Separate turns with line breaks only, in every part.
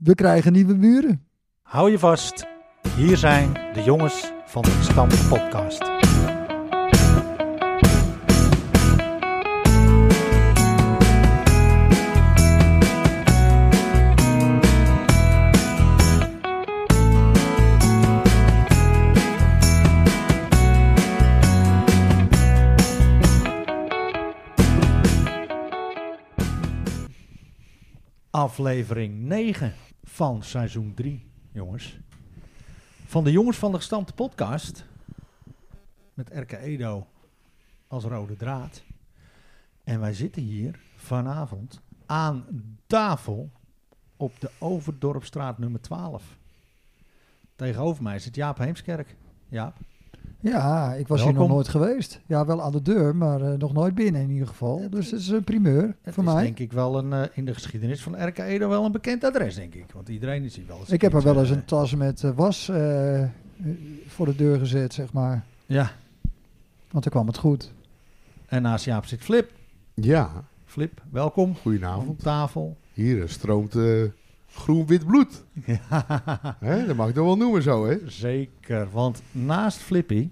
We krijgen nieuwe buren.
Hou je vast. Hier zijn de jongens van de Stam Podcast. Aflevering 9 van seizoen 3, jongens. Van de Jongens van de Gestampte podcast. Met Erke Edo als rode draad. En wij zitten hier vanavond aan tafel op de Overdorpstraat nummer 12. Tegenover mij zit Jaap Heemskerk. Jaap,
Ja, ik was hier
Welkom.
nog nooit geweest. Ja, wel aan de deur, maar eh, nog nooit binnen in ieder geval. Dus het is een primeur
het
voor
is
mij.
denk ik wel een, eh, in de geschiedenis van Erke Edo wel een bekend adres, denk ik. Want iedereen is hier wel eens.
Ik heb er
keertje,
wel eens
eh,
een tas met eh, was eh, eh, voor de deur gezet, zeg maar.
Ja,
Want dan kwam het goed.
en naast Jaap zit Flip.
Ja,
Flip, welkom.
goedenavond.
tafel.
Hier eh, stroomt eh, groen-wit bloed.
Ja,
Hè? Dat mag ik dan wel noemen zo, hè?
zeker. Want naast Flippy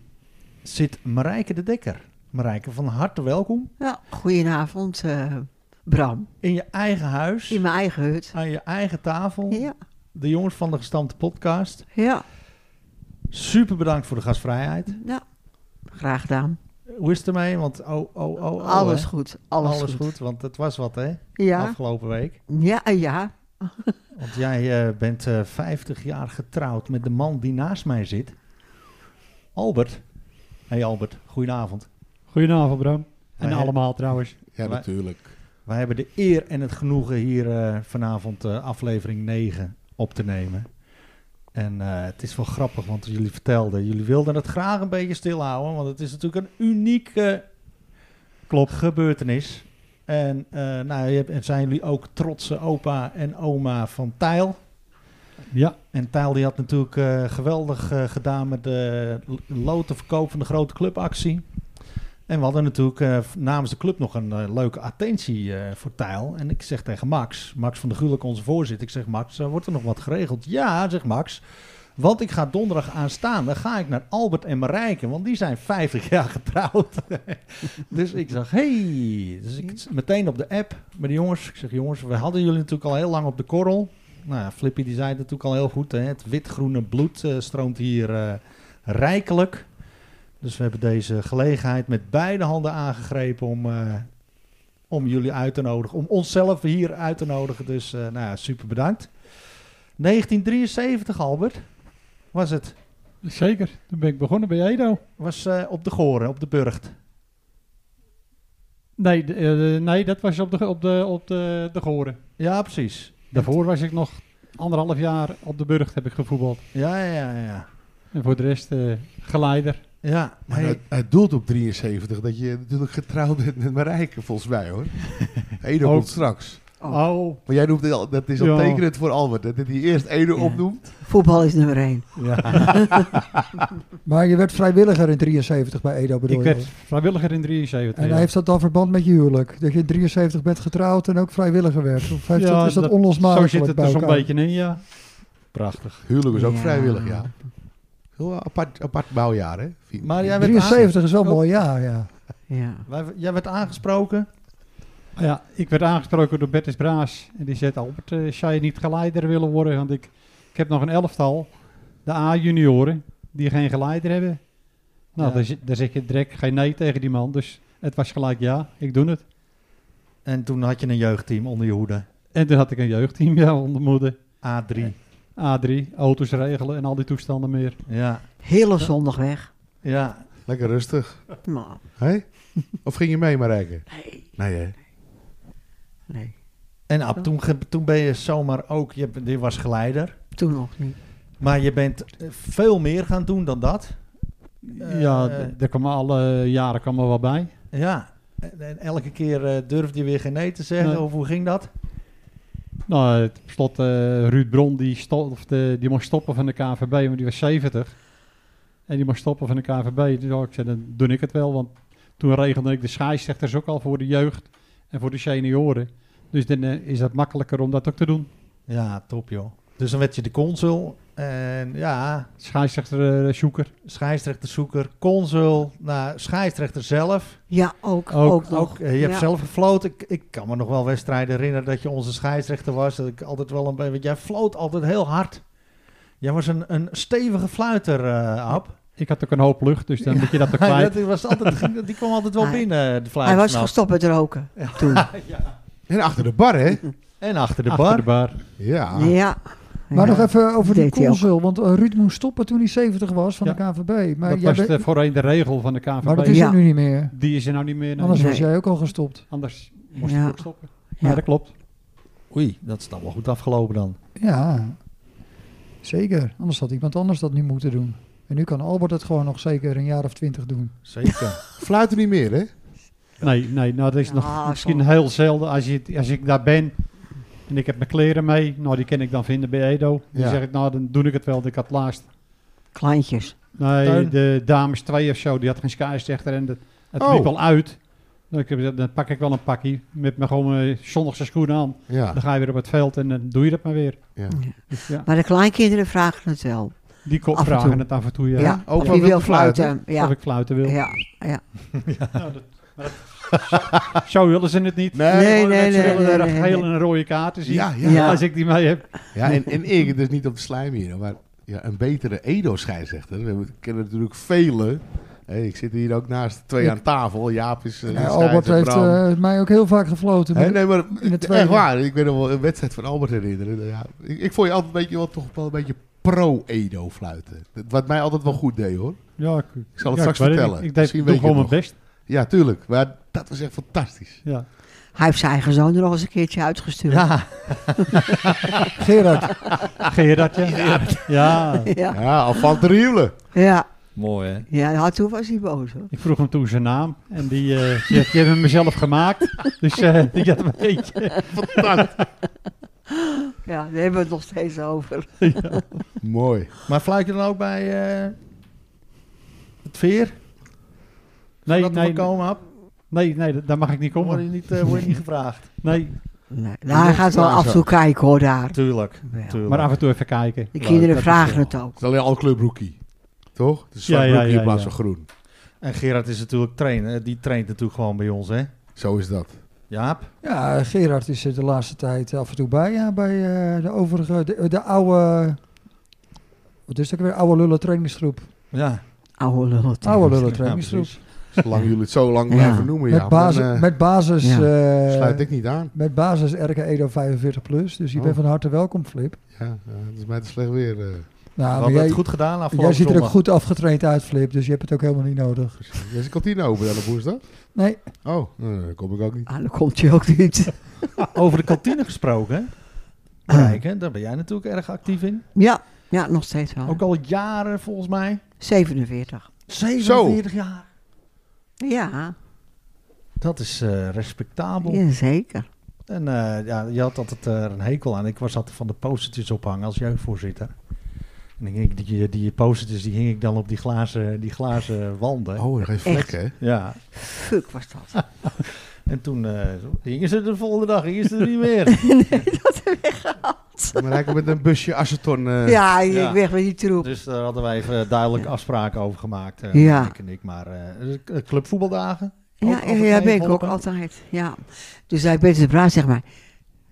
zit Marijke de Dekker. Marijke, van harte welkom
Ja, goedenavond, eh, Bram.
in je eigen huis,
In mijn eigen hut.
aan je eigen tafel.
Ja,
De jongens van de gestampte podcast.
ja,
Super bedankt voor de gastvrijheid.
ja. Graag gedaan.
Hoe is het ermee? Want oh, oh, oh, oh,
alles
hè?
goed, alles, goed.
Want het was wat, hè?
Ja,
Afgelopen week.
ja, eh, ja.
Want jij eh, bent eh 50 jaar getrouwd met de man die naast mij zit. Albert. hey Albert, goedenavond.
Goedenavond, Bram. En
Wij-
allemaal trouwens.
Ja,
Wij-
natuurlijk.
Wij hebben de eer en het genoegen hier eh, vanavond eh, aflevering 9 op te nemen. En eh, het is wel grappig, want jullie vertelden, jullie wilden het graag een beetje stilhouden, want het is natuurlijk een unieke Klopt. gebeurtenis. En eh, nou, je hebt- en zijn jullie ook trotse opa en oma van Tijl.
Ja,
En Tijl die had natuurlijk eh, geweldig eh, gedaan met de l- lotenverkoop van de grote clubactie. En we hadden natuurlijk eh, v- namens de club nog een eh, leuke attentie eh, voor Tijl. En ik zeg tegen Max, Max van der Gulik, onze voorzitter. Ik zeg, Max, eh, wordt er nog wat geregeld? Ja, zegt Max. Want ik ga donderdag aanstaande, ga ik naar Albert en Marijke. Want die zijn 50 jaar getrouwd. dus ik zag, hey. Dus ik s- meteen op de app met de jongens. Ik zeg, jongens, we hadden jullie natuurlijk al heel lang op de korrel. Nou ja, Flippy die zei het natuurlijk al heel goed. Hè? Het wit-groene bloed eh, stroomt hier eh, rijkelijk. Dus we hebben deze gelegenheid met beide handen aangegrepen om, eh, om jullie uit te nodigen. Om onszelf hier uit te nodigen. Dus eh, nou ja, super bedankt. 1973, Albert, was het.
zeker. Toen ben ik begonnen bij Edo.
Was eh, op de Goren, op de Burgt.
Nee, de- eh, de- nee dat was op de, op de, op de, de Goren.
Ja, precies.
Daarvoor was ik nog anderhalf jaar op de Burg, heb ik gevoetbald.
Ja, ja, ja, ja.
En voor de rest eh, geleider.
Ja,
Maar
hey,
het, het doelt op 73 dat je natuurlijk getrouwd bent met Marijke, volgens mij, hoor. Edo
Ook.
komt straks.
Oh,
Oh,
Maar jij noemt het al, dat is al
Ja.
tekenend voor Albert, hè, dat hij eerst Edo
Ja.
opnoemt.
voetbal is nummer één.
Maar je werd vrijwilliger in 73 bij Edo, bedoel
ik
je?
werd vrijwilliger in 73.
En
ja.
heeft dat dan verband met je huwelijk? Dat je in 73 bent getrouwd en ook vrijwilliger werd? Of heeft
Ja,
dat, is dat,
dat- Zo
onlosmakelijk
zit het
bij
er zo'n
elkaar?
beetje in, ja.
prachtig.
Huwelijk is ook
Ja.
vrijwillig, ja. Heel apart, apart bouwjaar, hè? Vind-
Maar jij werd, aange-
73 is wel een mooi jaar, ja.
Ja.
wij- jij werd aangesproken.
Ja, ik werd aangesproken door Bertus Braas. En die zei, Albert, eh, zou je niet geleider willen worden? Want ik, ik heb nog een elftal, de A-junioren, die geen geleider hebben. Nou,
Ja.
daar, zi- daar zeg je direct geen nee tegen die man. Dus het was gelijk, ja, ik doe het.
En toen had je een jeugdteam onder je hoede.
En toen had ik een jeugdteam, ja, onder moeder.
A3.
A3, auto's regelen en al die toestanden meer.
Ja.
Hele zondag weg.
Ja.
Lekker rustig.
Nou,
Hè? Of ging je mee, Marijke?
nee,
Nee, hè?
nee.
En Ab, toen, ge- toen ben je zomaar ook, je, je was geleider.
Toen nog niet.
Maar je bent eh, veel meer gaan doen dan dat. Eh,
ja, d- daar kwamen alle jaren kwam er wel bij.
Ja. En, en elke keer eh, durfde je weer geen nee te zeggen.
Nee.
Of hoe ging dat?
Nou, het slot eh, Ruud Bron, die, sto- of de- die mocht stoppen van de KVB, want die was 70. En die mocht stoppen van de KVB. Dus ja, ik zei, dan doe ik het wel. Want toen regelde ik de scheidsrechters ook al voor de jeugd en voor de senioren. Dus dan eh, is dat makkelijker om dat ook te doen.
Ja, top joh. Dus dan werd je de consul. En ja,
Scheidsrechter eh Sjoeker.
scheidsrechterzoeker, consul, nou, scheidsrechter zelf.
Ja, ook.
Ook-
Ook,
Ook,
nog.
eh, je hebt
Ja.
zelf gefloten. Ik, ik kan me nog wel wedstrijden herinneren dat je onze scheidsrechter was. Dat ik altijd wel een beetje. want Jij floot altijd heel hard. Jij was een, een stevige fluiter, eh Ab.
Ik had ook een hoop lucht, dus dan moet je dat er
Hij
kwijt.
werd- die was altijd, ging- die kwam altijd wel
Hij-
binnen, eh, de fluiter.
Hij was gestopt met roken toen.
En achter de bar, hè?
En achter de
Achter
bar.
de bar.
Ja.
Ah.
Ja.
Maar
Ja.
nog even over die
Deed hij ook.
consul, want eh, Ruud moest stoppen toen hij 70 was van
Ja.
de KVB. Maar,
dat
jij
was
bent-
eh, voorheen de regel van de
maar dat
KNVB.
is
Ja.
er nu niet meer.
Die is er nou niet meer. nee.
Anders was
Nee.
jij ook al gestopt.
Anders moest
Ja.
ik ook stoppen. Maar
Ja.
dat klopt.
Oei, dat is dan wel goed afgelopen dan.
Ja, zeker. Anders had iemand anders dat nu moeten doen. En nu kan Albert het gewoon nog zeker een jaar of twintig doen.
Zeker.
Fluiten niet meer, hè?
Nee, nee, nou dat is
Ja,
nog
zo.
misschien heel zelden. Als, je, als ik daar ben en ik heb mijn kleren mee, nou die ken ik dan vinden bij Edo. Dan
Ja.
zeg ik, nou dan doe ik het wel. want Ik had laatst,
Kleintjes.
nee,
Teun?
de dames 2 of zo, die had geen scheidsrechter en de, het
Oh.
liep al uit. Dan, heb ik gezegd, dan pak ik wel een pakje met mijn gewoon mijn zondagse schoenen aan. Dan
Ja.
ga je weer op het veld en dan doe je dat maar weer.
ja.
Dus ja,
Maar de kleinkinderen vragen het wel.
die kop
af en
vragen
toe.
het af en toe, ja.
Ja,
ook
Wie
wel wil
wil
fluiten.
fluiten.
Of
Ja.
ik fluiten wil.
Ja, ja.
Nou, dat, maar dat- zo willen ze het niet.
Nee.
Nee, nee,
Ze
nee.
willen
nee,
er
nee,
een gele en
nee.
een rode kaarten zien.
Ja, ja.
Ja.
Als ik die mee heb.
Ja, en, en ik, dus niet op de slijm hier, maar ja, een betere Edo-scheidsrechter. We hebben- kennen natuurlijk vele. Hé, ik zit hier ook naast twee aan tafel. Jaap is eh,
Ja,
scheids-
Nou, Albert
en
heeft
Bram.
eh, mij ook heel vaak gefloten.
Hé,
maar-
nee, maar
in de tweede.
echt waar. Ik ben nog wel een wedstrijd van Albert herinneren. Ja, ik, ik vond je altijd een beetje, wel, toch wel een beetje pro-Edo fluiten. Dat- Wat mij altijd wel goed deed, hoor.
Ja, ik,
Ik zal het
ja,
straks
ik weet
vertellen.
niet. Ik deed
Misschien
doe
weet je
gewoon mijn
het nog.
best.
Ja, tuurlijk. Maar dat was echt fantastisch.
Ja.
Hij heeft zijn eigen zoon er nog eens een keertje uitgestuurd. Ja.
Ja,
Gerard,
Gerard, ja. Ja.
Ja.
Ja, Alphand de Rieuwelen.
Ja.
mooi hè.
nou, toen was hij boos hoor.
Ik vroeg hem toen zijn naam. En die, eh die, die hebben hem mezelf gemaakt. Dus eh die had hem een eentje.
Fantastisch.
Ja, daar hebben we het nog steeds over.
Mooi.
Maar fluit je dan ook bij eh, het veer?
Nee,
dat
nee,
we komen, Ab?
nee, nee, dat- daar mag ik niet
Kom, word je
komen.
niet, eh, word je niet gevraagd?
Nee,
Nee, nou, hij gaat wel
staan
af en toe kijken hoor daar.
Tuurlijk,
Wel.
tuurlijk.
maar af en toe even kijken.
De
Leuk,
kinderen
dat is
vragen
wel.
het ook.
Het is alleen al clubroekie. Toch? Het is zwart
Ja, ja,
broekje
ja,
in plaats
ja.
van groen.
En Gerard is natuurlijk trainer. Die traint natuurlijk gewoon bij ons, hè?
Zo is dat.
Jaap?
ja, Gerard is er de laatste tijd af en toe bij. Ja, bij eh, de overige, de, de oude, wat is dat ook weer? Oude lullen trainingsgroep.
Ja.
Oude lul.
Oude lullen
Ja,
trainingsgroep.
precies.
Zolang jullie het zo lang
Ja.
blijven noemen, ja.
met, basis,
dan, eh,
met basis,
ja.
eh,
sluit ik niet aan.
met basis RK Edo 45 plus. Dus je
Oh.
bent van harte welkom, Flip.
Ja, ja, het is mij te slecht weer. eh.
We
Nou, maar
hadden
jij,
het goed gedaan
jij
afgelopen
ziet er ook
zondag.
goed afgetraind uit, Flip. Dus je hebt het ook helemaal niet nodig.
Jij is de kantine open dan op woensdag?
Nee,
Oh, nou, daar kom ik ook niet.
Ah, dan komt hij ook niet.
Over de kantine gesproken. Kijk, hè, daar ben jij natuurlijk erg actief in.
Ja, ja nog steeds wel.
Ook al jaren volgens mij.
47.
47 jaar.
Ja,
Dat is eh, respectabel.
jazeker.
En eh, ja, je had altijd eh, een hekel aan. Ik was altijd van de postertjes ophangen als jeugdvoorzitter. En dan ging ik die, eh, die postertjes die hing ik dan op die glazen, die glazen wanden.
Oh, er geen vlek, hè?
Ja.
Fuck was dat.
En toen eh hingen ze de volgende dag, hingen ze er niet meer.
Maar rijken met een busje aceton. eh,
ja, ik
ja.
weg met die troep.
dus daar hadden wij even duidelijk afspraken over gemaakt. eh,
Ja.
Ik en ik, maar eh, eh, clubvoetbaldagen. ook
Ja, ja,
altijd
ja, ben ik ook
meegeholpen.
altijd. Ja. Dus hij Peter de Braas zeg maar...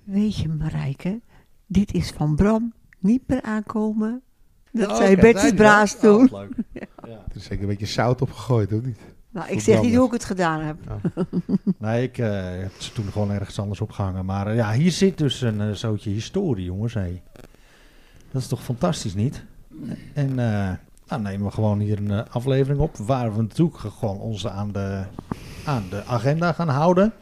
Weet je Marijke, dit is van Bram. Niet meer aankomen. Dat
Oh,
zei
oké,
Bertus
zei die
Braas
dat?
toen.
Oh, wat leuk. Ja.
Er is zeker een beetje zout op gegooid, of niet?
nou, ik zeg niet hoe ik het gedaan heb.
Nee, ik eh, heb ze toen gewoon ergens anders opgehangen. Maar eh, ja, hier zit dus een eh, zootje historie, jongens. hé. Dat is toch fantastisch, niet? En eh nou, nemen we gewoon hier een eh, aflevering op... waar we natuurlijk gewoon ons aan de, aan de agenda gaan houden.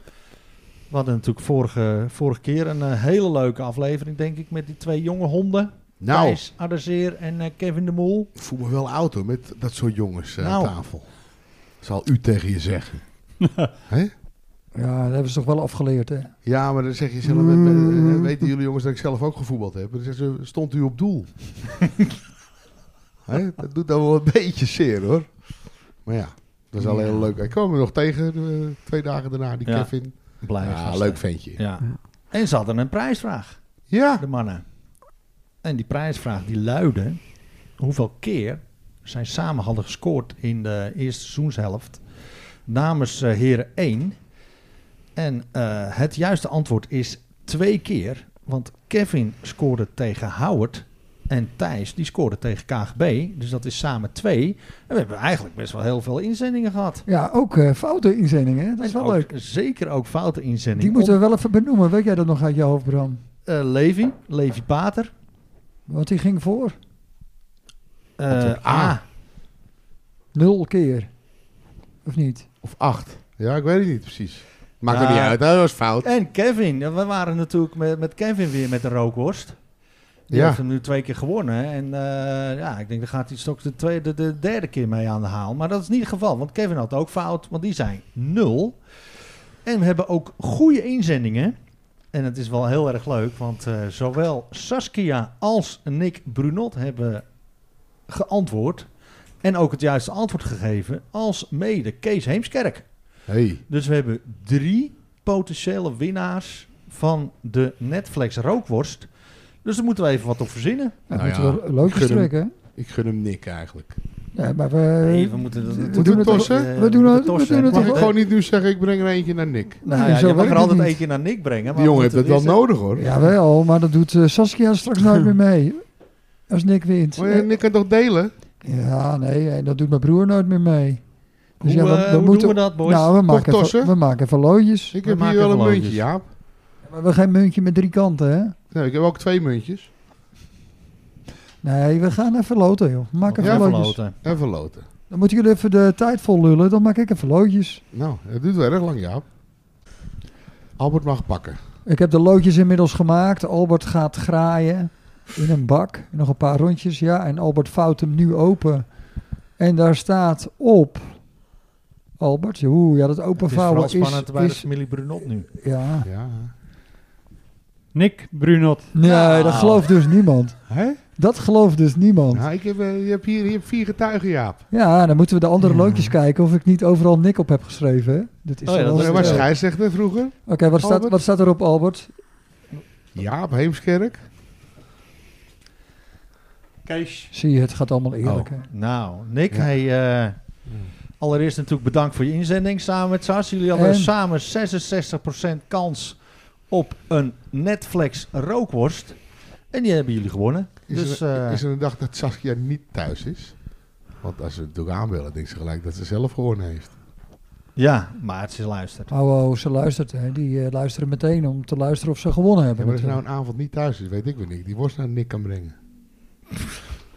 We hadden natuurlijk vorige, vorige keer een eh, hele leuke aflevering, denk ik... met die twee jonge honden.
Nou,
Thijs Adderzeer en eh, Kevin de Moel.
ik voel me wel oud, hoor, met dat soort jongens eh,
Nou.
aan tafel. Zal u tegen je zeggen. Hè?
ja, dat hebben ze toch wel afgeleerd, hè?
Ja, maar dan zeg je zelf,
Mm.
eh, eh, weten jullie jongens dat ik zelf ook gevoetbald heb? Dan zeggen ze, stond u op doel? Hè? Dat doet dan wel een beetje zeer hoor. Maar ja, dat is al
Ja.
heel leuk. Ik kwam hem nog tegen eh, twee dagen daarna, die
Ja.
Kevin.
Blij
Ja,
gasten.
leuk ventje. Ja.
Ja. En ze hadden een prijsvraag, de mannen. En die prijsvraag die luidde hoeveel keer zij samen hadden gescoord in de eerste seizoenshelft namens eh heren 1. En eh, het juiste antwoord is twee keer, want Kevin scoorde tegen Howard en Thijs die scoorde tegen KGB, dus dat is samen twee. En we hebben eigenlijk best wel heel veel inzendingen gehad.
Ja, ook eh foute inzendingen. hè? Dat is
En
wel
ook-
leuk.
Zeker ook foute inzendingen.
Die moeten we wel even benoemen. Weet jij dat nog uit je hoofd, Bram?
Om- eh, Levi, Levi Pater.
Want die ging voor.
eh,
Natuurlijk.
A.
Nul keer. Of niet?
Of acht. Ja, ik weet het niet precies. Maakt
Ja.
er niet uit, dat was fout.
En Kevin. We waren natuurlijk met, met Kevin weer met de rookworst. Die
Ja.
heeft hem nu twee keer gewonnen. En eh, ja, ik denk daar gaat hij straks de, tweede, de derde keer mee aan de haal. Maar dat is niet het geval, want Kevin had ook fout, want die zijn nul. En we hebben ook goede inzendingen. En het is wel heel erg leuk, want eh, zowel Saskia als Nick Brunot hebben geantwoord. En ook het juiste antwoord gegeven, als mede Kees Heemskerk.
Hey.
Dus we hebben drie potentiële winnaars van de Netflix rookworst. Dus daar moeten we even wat op verzinnen.
Nou,
Nou
moeten
ja,
we leuk
gun hem.
trekken.
Ik gun hem Nick eigenlijk.
Ja, maar we,
Nee, we moeten dat-
Eh, we
dat-
doen
doen
het
toch, hè?
toch-
eh,
we doen
moeten
het- we
torsen.
doen het
Mag
Mag
toch
ik
ik
eh,
gewoon niet nu zeggen, ik breng er eentje naar Nick.
Nee,
Nou ja,
zo
je mag
werkt
er
het
altijd
niet.
één keer naar Nick brengen.
Die
maar eh,
jongen
we
heeft dat
moeten
wel
eerst-
nodig hoor.
Jawel, maar dat doet eh, Saskia straks nooit meer mee. Als Nick wint.
Maar ja, Nick kan toch delen?
Ja, nee, en dat doet mijn broer nooit meer mee. Dus ja,
Hoe,
we-
eh,
we
hoe
moeten-
doen we dat, boys?
nou, we maken, even,
tossen?
we maken even loodjes.
Ik
We
heb hier
maken
wel een
verloofjes.
muntje, Jaap.
Maar we geen muntje met drie kanten, hè?
Nee, ik heb ook twee muntjes.
Nee, we gaan even loten, joh. Maak
Oh, Even
even
verloten.
loodjes.
En verloten.
Dan moeten jullie even de tijd vol lullen. Dan maak ik even loodjes.
Nou, het duurt wel erg lang, Jaap. Albert mag pakken.
Ik heb de loodjes inmiddels gemaakt. Albert gaat graaien in een bak. Nog een paar rondjes, ja. En Albert vouwt hem nu open. En daar staat op... Albert, oeh, ja, dat
Het is vooral
openvouwen is...
spannend bij de
is,
familie Brunot nu.
ja.
Ja.
Nick Brunot.
Nee,
Nou.
dat gelooft dus niemand.
Hè?
Dat gelooft dus niemand.
Nou, ik heb, eh, je, hebt hier, je hebt vier getuigen, Jaap.
Ja, dan moeten we de andere loodjes kijken of ik niet overal Nick op heb geschreven. hè. Dat is
Oh ja,
dan
dat
wel- eh,
is
Er
het
was
wel.
scheidsrechter vroeger.
Oké, wat, staat,
Albert?
wat staat erop, Albert?
Jaap Heemskerk.
Kees.
Zie je, het gaat allemaal eerlijk.
Oh,
hè.
Nou, Nick,
Ja.
hey, eh, allereerst natuurlijk bedankt voor je inzending samen met Sas. Jullie hadden
En?
samen 66% kans op een Netflix rookworst. En die hebben jullie gewonnen.
Is,
dus,
er,
eh,
is er een dag dat Saskia niet thuis is? Want als ze het natuurlijk aanbellen, denkt ze gelijk dat ze zelf gewonnen heeft.
Ja, maar ze luistert.
Oh, oh, ze luistert, hè. Die eh, luisteren meteen om te luisteren of ze gewonnen
Ja,
hebben.
maar als ze nou
natuurlijk.
een avond niet thuis is, weet ik weer niet. Die worst naar Nick kan brengen.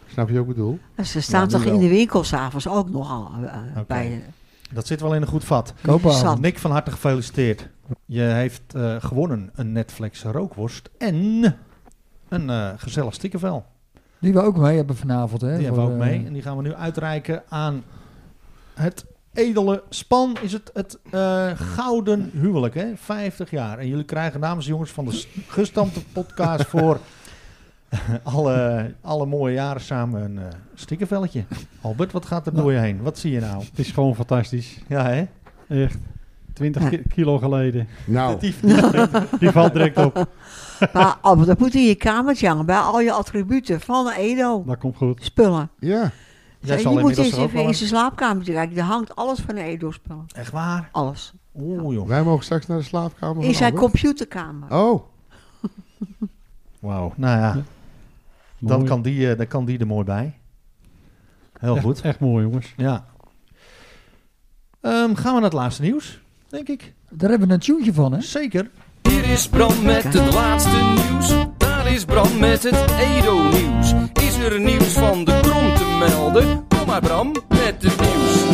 Snap je ook wat ik bedoel?
Nou, Ze staan
Ja, nu
toch in
wel.
de winkel s'avonds ook nogal eh,
Oké.
bij.
Dat zit wel in een goed vat.
Koopavond.
Nick, van harte gefeliciteerd. Je heeft eh, gewonnen een Netflix rookworst en een eh, gezellig stikkervel.
Die we ook mee hebben vanavond, hè.
Die hebben we
voor,
ook
eh,
mee. En die gaan we nu uitreiken aan het edele span. Is het het eh, gouden huwelijk, hè? 50 jaar. En jullie krijgen namens de jongens van de s- gestampte podcast voor alle, alle mooie jaren samen een eh stikkervelletje. Albert, wat gaat er door je heen? Wat zie je nou?
Het is gewoon fantastisch.
Ja, hè?
Echt. 20
Ja.
ki- kilo geleden.
Nou,
Die, die-
Die valt direct op.
Maar Albert, dat moet in je kamertje hangen bij al je attributen van Edo.
Dat komt goed.
Spullen.
ja.
Jij
En
zal
je moet
inmiddels
eens
er ook
even
wel
in
een-
zijn slaapkamertje kijken. Daar hangt alles van de Edo-spullen.
Echt waar?
Alles.
Oeh, joh.
Wij mogen straks naar de slaapkamer.
In
van
zijn
Albert.
computerkamer.
Oh,
Wauw. Nou ja, dan
Mooi.
kan, die, eh, dan kan die er mooi bij. Heel
Echt-
goed.
Echt mooi, jongens.
Ja. Ehm, gaan we naar het laatste nieuws, denk ik.
Daar hebben we een tuintje van, hè.
Zeker.
Hier is Bram met het laatste nieuws. Daar is Bram met het Edo-nieuws. Is er nieuws van de krom te melden? Kom maar Bram met het nieuws.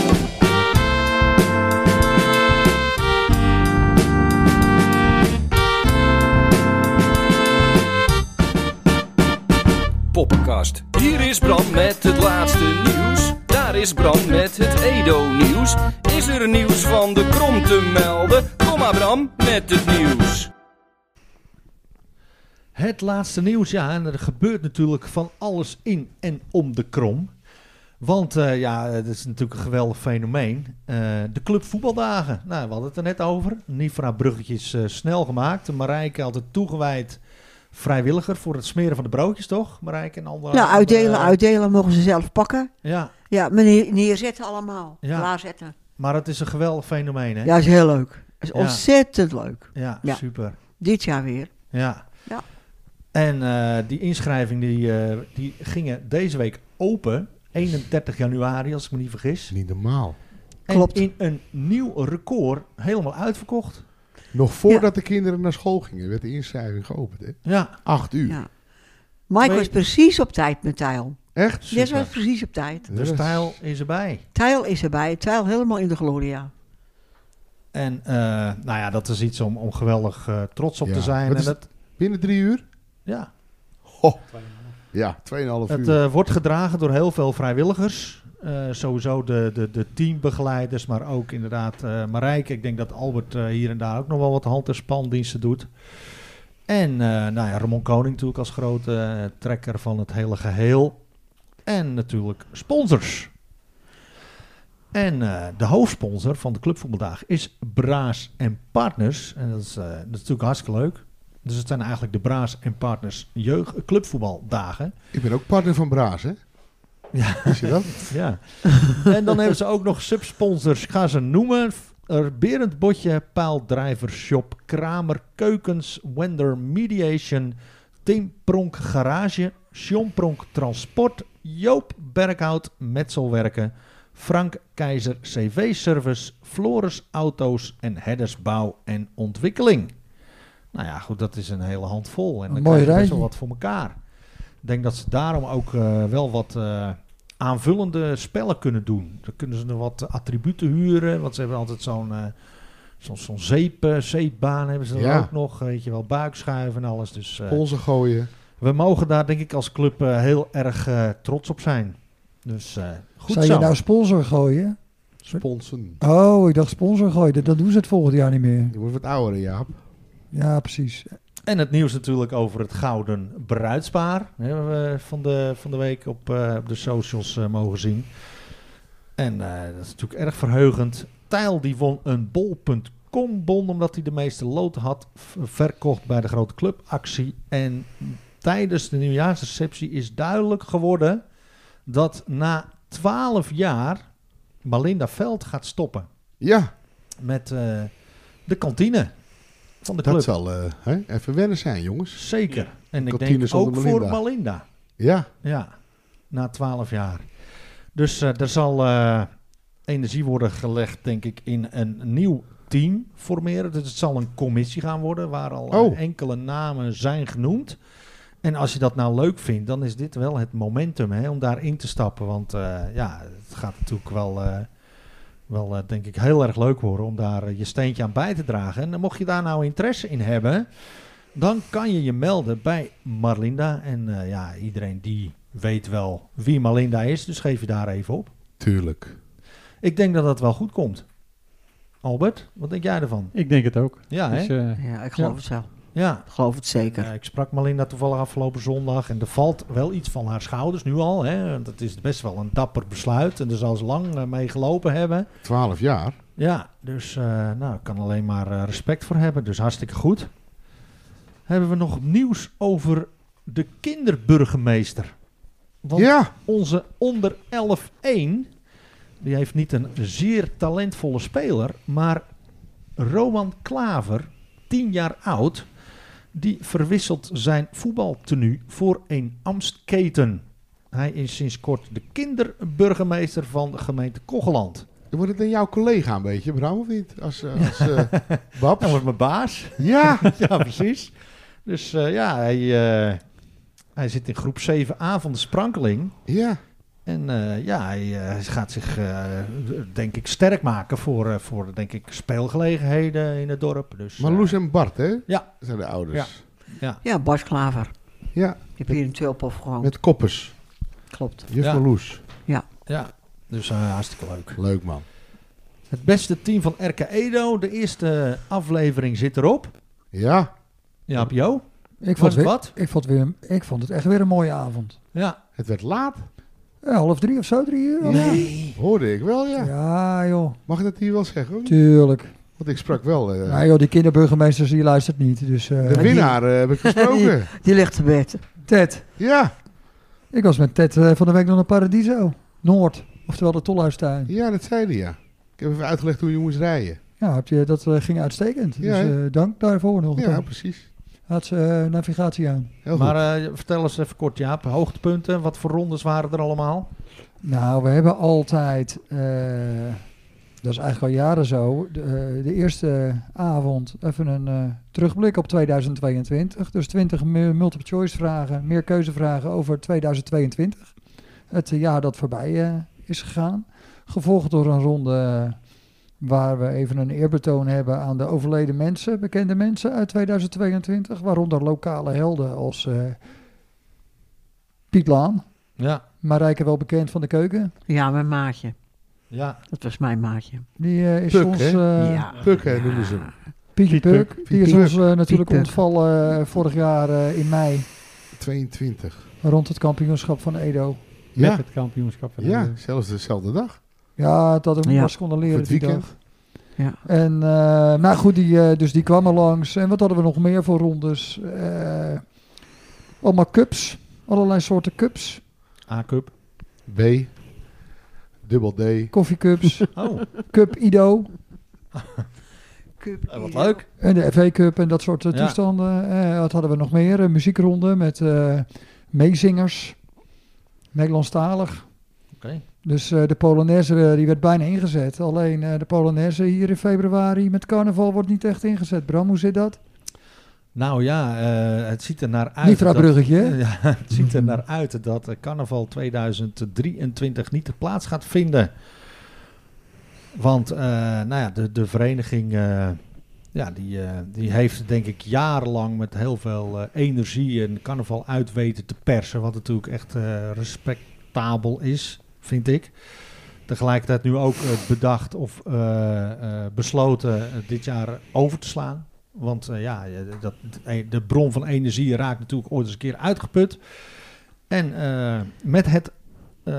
Poppenkast. Hier is Bram met het laatste nieuws. Daar is Bram met het Edo-nieuws. Is er nieuws van de krom te melden? Kom maar Bram met het nieuws.
Het laatste nieuws, ja. En er gebeurt natuurlijk van alles in en om de krom. Want eh, ja, het is natuurlijk een geweldig fenomeen. Eh, de clubvoetbaldagen. eh, Nou, we hadden het er net over. Nifra Bruggetjes snel gemaakt. Marijke altijd toegewijd vrijwilliger voor het smeren van de broodjes, toch? Marijke en andere.
Nou, uitdelen,
eh,
uitdelen mogen ze zelf pakken.
Ja,
Ja, maar neer- neerzetten allemaal.
Ja.
Klaarzetten.
maar het is een geweldig fenomeen, hè?
Ja, is heel leuk. is
Ja.
ontzettend leuk.
Ja,
Ja.
super.
Dit jaar weer.
Ja.
Ja.
En eh, die inschrijving die, eh, die gingen deze week open. 31 januari, als ik me niet vergis.
Niet normaal.
Klopt.
En in een nieuw record helemaal uitverkocht.
Nog voordat de kinderen naar school gingen, werd de inschrijving geopend. Hè?
Ja,
Acht uur.
Ja. Mike
Twee-
was precies op tijd met Tijl.
Echt?
Dit was
super.
precies op tijd.
Dus
Dat is-
Tijl is erbij.
Tijl is erbij. Tijl helemaal in de gloria.
En eh, nou ja, dat is iets om, om geweldig eh, trots op
Ja,
te zijn.
wat
En
is
dat,
Binnen drie uur?
ja,
Ho. Ja, 2,5 uur.
het eh, wordt gedragen door heel veel vrijwilligers. Eh, sowieso de, de, de teambegeleiders, maar ook inderdaad eh Marijke. Ik denk dat Albert eh, hier en daar ook nog wel wat hand- en spandiensten doet. En eh, nou ja, Ramon Koning natuurlijk als grote eh, trekker van het hele geheel. En natuurlijk sponsors. En eh, de hoofdsponsor van de Clubvoetbaldag is Braas en Partners. En dat is, eh, dat is natuurlijk hartstikke leuk. Dus het zijn eigenlijk de Braas en Partners jeugd clubvoetbaldagen.
Ik ben ook partner van Braas, hè?
Ja.
Wist je dat?
Ja. en dan hebben ze ook nog subsponsors. Ik ga ze noemen. Er Berend Botje, Paaldrijver Shop, Kramer Keukens, Wender Mediation, Tim Pronk Garage, John Pronk Transport, Joop Berghout Metselwerken, Frank Keizer CV Service, Floris Auto's en Hedders Bouw en Ontwikkeling. Nou ja, goed, dat is een hele handvol. En
Een mooi
dan krijg je best
rijtje.
wel wat voor elkaar. Ik denk dat ze daarom ook eh, wel wat eh, aanvullende spellen kunnen doen. Dan kunnen ze nog wat attributen huren. Want ze hebben altijd zo'n eh, zo'n zo'n zeep, eh, zeepbaan hebben ze dan
Ja.
ook nog. eh, Weet je wel, buikschuiven en alles. Dus eh,
Onze gooien.
we mogen daar denk ik als club eh, heel erg eh, trots op zijn. Dus eh, goed
Zou
zo.
je nou sponsor gooien?
Sponsen.
Oh, ik dacht sponsor gooien. Dat, dat doen ze het volgend jaar niet meer.
Je wordt wat ouder, hè, Jaap.
Ja, precies.
En het nieuws natuurlijk over het gouden bruidspaar. hè, Hebben we van de, van de week op, eh, op de socials eh, mogen zien. En eh, dat is natuurlijk erg verheugend. Tijl die won een bol.com bon omdat hij de meeste loten had v- verkocht bij de grote clubactie. En tijdens de nieuwjaarsreceptie is duidelijk geworden dat na 12 jaar Malinda Veld gaat stoppen
Ja,
met eh, de kantine van de club.
dat zal eh, hè, even wennen zijn, jongens.
Zeker. En ik
Kantine
denk ook
zonder
voor
Malinda.
Malinda.
Ja,
Ja, na twaalf jaar. Dus eh er zal eh, energie worden gelegd, denk ik, in een nieuw team formeren. Dus het zal een commissie gaan worden waar al eh,
Oh.
enkele namen zijn genoemd. En als je dat nou leuk vindt, dan is dit wel het momentum hè, om daarin te stappen. Want eh, ja, het gaat natuurlijk wel, eh, wel eh, denk ik, heel erg leuk worden om daar eh, je steentje aan bij te dragen. En eh, mocht je daar nou interesse in hebben, dan kan je je melden bij Marlinda. En eh, ja, iedereen die weet wel wie Marlinda is, dus geef je daar even op.
tuurlijk.
Ik denk dat dat wel goed komt. Albert, wat denk jij ervan?
Ik denk het ook.
Ja, hè?
Dus, eh,
Ja, ik geloof
Ja.
het wel.
Ja.
Ik geloof het zeker.
En, eh, ik sprak Marlinda toevallig afgelopen zondag en er valt wel iets van haar schouders nu al. Hè? Want het is best wel een dapper besluit en daar zal ze lang eh, mee gelopen hebben.
Twaalf jaar.
Ja, dus eh, nou, ik kan alleen maar eh, respect voor hebben, dus hartstikke goed. Hebben we nog nieuws over de kinderburgemeester? Want
ja,
onze onder 11-1. Die heeft niet een zeer talentvolle speler, maar Roman Klaver, 10 jaar oud, die verwisselt zijn voetbaltenu voor een Amstketen. Hij is sinds kort de kinderburgemeester van de gemeente Kocheland.
dan wordt het dan jouw collega een beetje, Bram, of niet? Als, eh, als eh, Babs.
Dat wordt mijn baas.
Ja,
ja, precies. Dus eh, ja, hij, eh, hij zit in groep 7a van de sprankeling.
ja.
En eh, ja, hij eh, hij gaat zich, eh, denk ik, sterk maken voor, eh, voor denk ik, speelgelegenheden in het dorp. Dus,
Maar
eh,
Loes en Bart, hè?
Ja.
Dat zijn de ouders.
Ja, Bas Klaver.
Ja,
Ik heb hier in Tulphof gewoond.
met koppers.
Klopt.
Juf
Ja.
van Loes.
ja, dus eh, hartstikke leuk.
Leuk, man.
Het beste team van RK Edo. De eerste aflevering zit erop.
Ja,
Ja, Jo.
Ik
Was
vond, het weer,
wat?
ik, vond het weer een- ik vond het echt weer een mooie avond.
Ja.
het werd laat,
Ja, half drie of zo, drie uur. half drie.
Nee.
hoorde ik wel, ja.
Ja, joh.
Mag ik dat hier wel zeggen? hoor?
Tuurlijk.
Want ik sprak wel. eh,
Nou joh, die kinderburgemeesters die luistert niet. Dus eh,
de winnaar eh, heb ik gesproken.
Die ligt te bed.
Ted.
ja,
Ik was met Ted eh, van de week nog naar Paradiso. Noord. Oftewel de Tolhuistuin.
ja, dat zei hij ja. Ik heb even uitgelegd hoe je moest rijden.
Ja, heb je, dat eh, ging uitstekend.
Ja,
dus
hè?
eh, dank daarvoor nog.
Ja,
Ja.
precies.
Had ze eh, navigatie aan.
Heel
Maar
goed.
eh, vertel eens even kort, Jaap. Hoogtepunten, wat voor rondes waren er allemaal?
Nou, we hebben altijd, eh, dat is eigenlijk al jaren zo, de, eh, de eerste avond even een eh, terugblik op 2022. Dus 20 mu- multiple choice vragen, meer keuzevragen over 2022. Het eh, jaar dat voorbij eh, is gegaan. Gevolgd door een ronde waar we even een eerbetoon hebben aan de overleden mensen, bekende mensen uit 2022. Waaronder lokale helden als eh, Piet Laan.
Ja,
Marijke wel bekend van de keuken.
Ja, mijn maatje.
ja.
Dat was mijn maatje.
Die eh, is
Puk,
ons...
hè?
eh,
ja.
Puk, hè, noemen ze hem.
Pietje
Piet
Puk.
Puk.
Die
Piet
is
Puk.
ons eh, natuurlijk
Puk.
ontvallen eh, vorig jaar eh, in mei.
22.
Rond het kampioenschap van Edo.
Met
Ja,
het kampioenschap. van
ja,
Nederland.
zelfs dezelfde dag.
Ja, het had hem
Ja.
was konden leren
Voor
die
het weekend.
dag.
Ja.
En, eh, nou goed, die, eh, dus die kwam er langs. En wat hadden we nog meer voor rondes? Eh, allemaal cups. Allerlei soorten cups.
A-cup.
B, dubbel D.
Koffiecups.
Oh,
Cup Ido.
Cup
eh, wat
Ido.
leuk.
En de FA Cup en dat soort eh,
Ja.
toestanden. Eh, wat hadden we nog meer? Een muziekronde met eh, meezingers. Nederlandstalig.
Oké.
Dus eh, de Polonaise eh, die werd bijna ingezet. Alleen eh, de Polonaise hier in februari met carnaval wordt niet echt ingezet. Bram, hoe zit dat?
Nou ja, eh, het ziet er naar uit.
Nifra
dat-
Bruggetje. hè?
Ja, het ziet er naar uit dat eh, carnaval 2023 niet de plaats gaat vinden. Want eh, nou ja, de, de vereniging eh, ja, die, eh, die heeft denk ik jarenlang met heel veel eh, energie en carnaval uit weten te persen. Wat natuurlijk echt eh, respectabel is, vind ik. Tegelijkertijd nu ook eh, bedacht of eh, eh, besloten eh, dit jaar over te slaan. Want eh, ja, je- dat, de bron van energie raakt natuurlijk ooit eens een keer uitgeput. En eh, met het eh,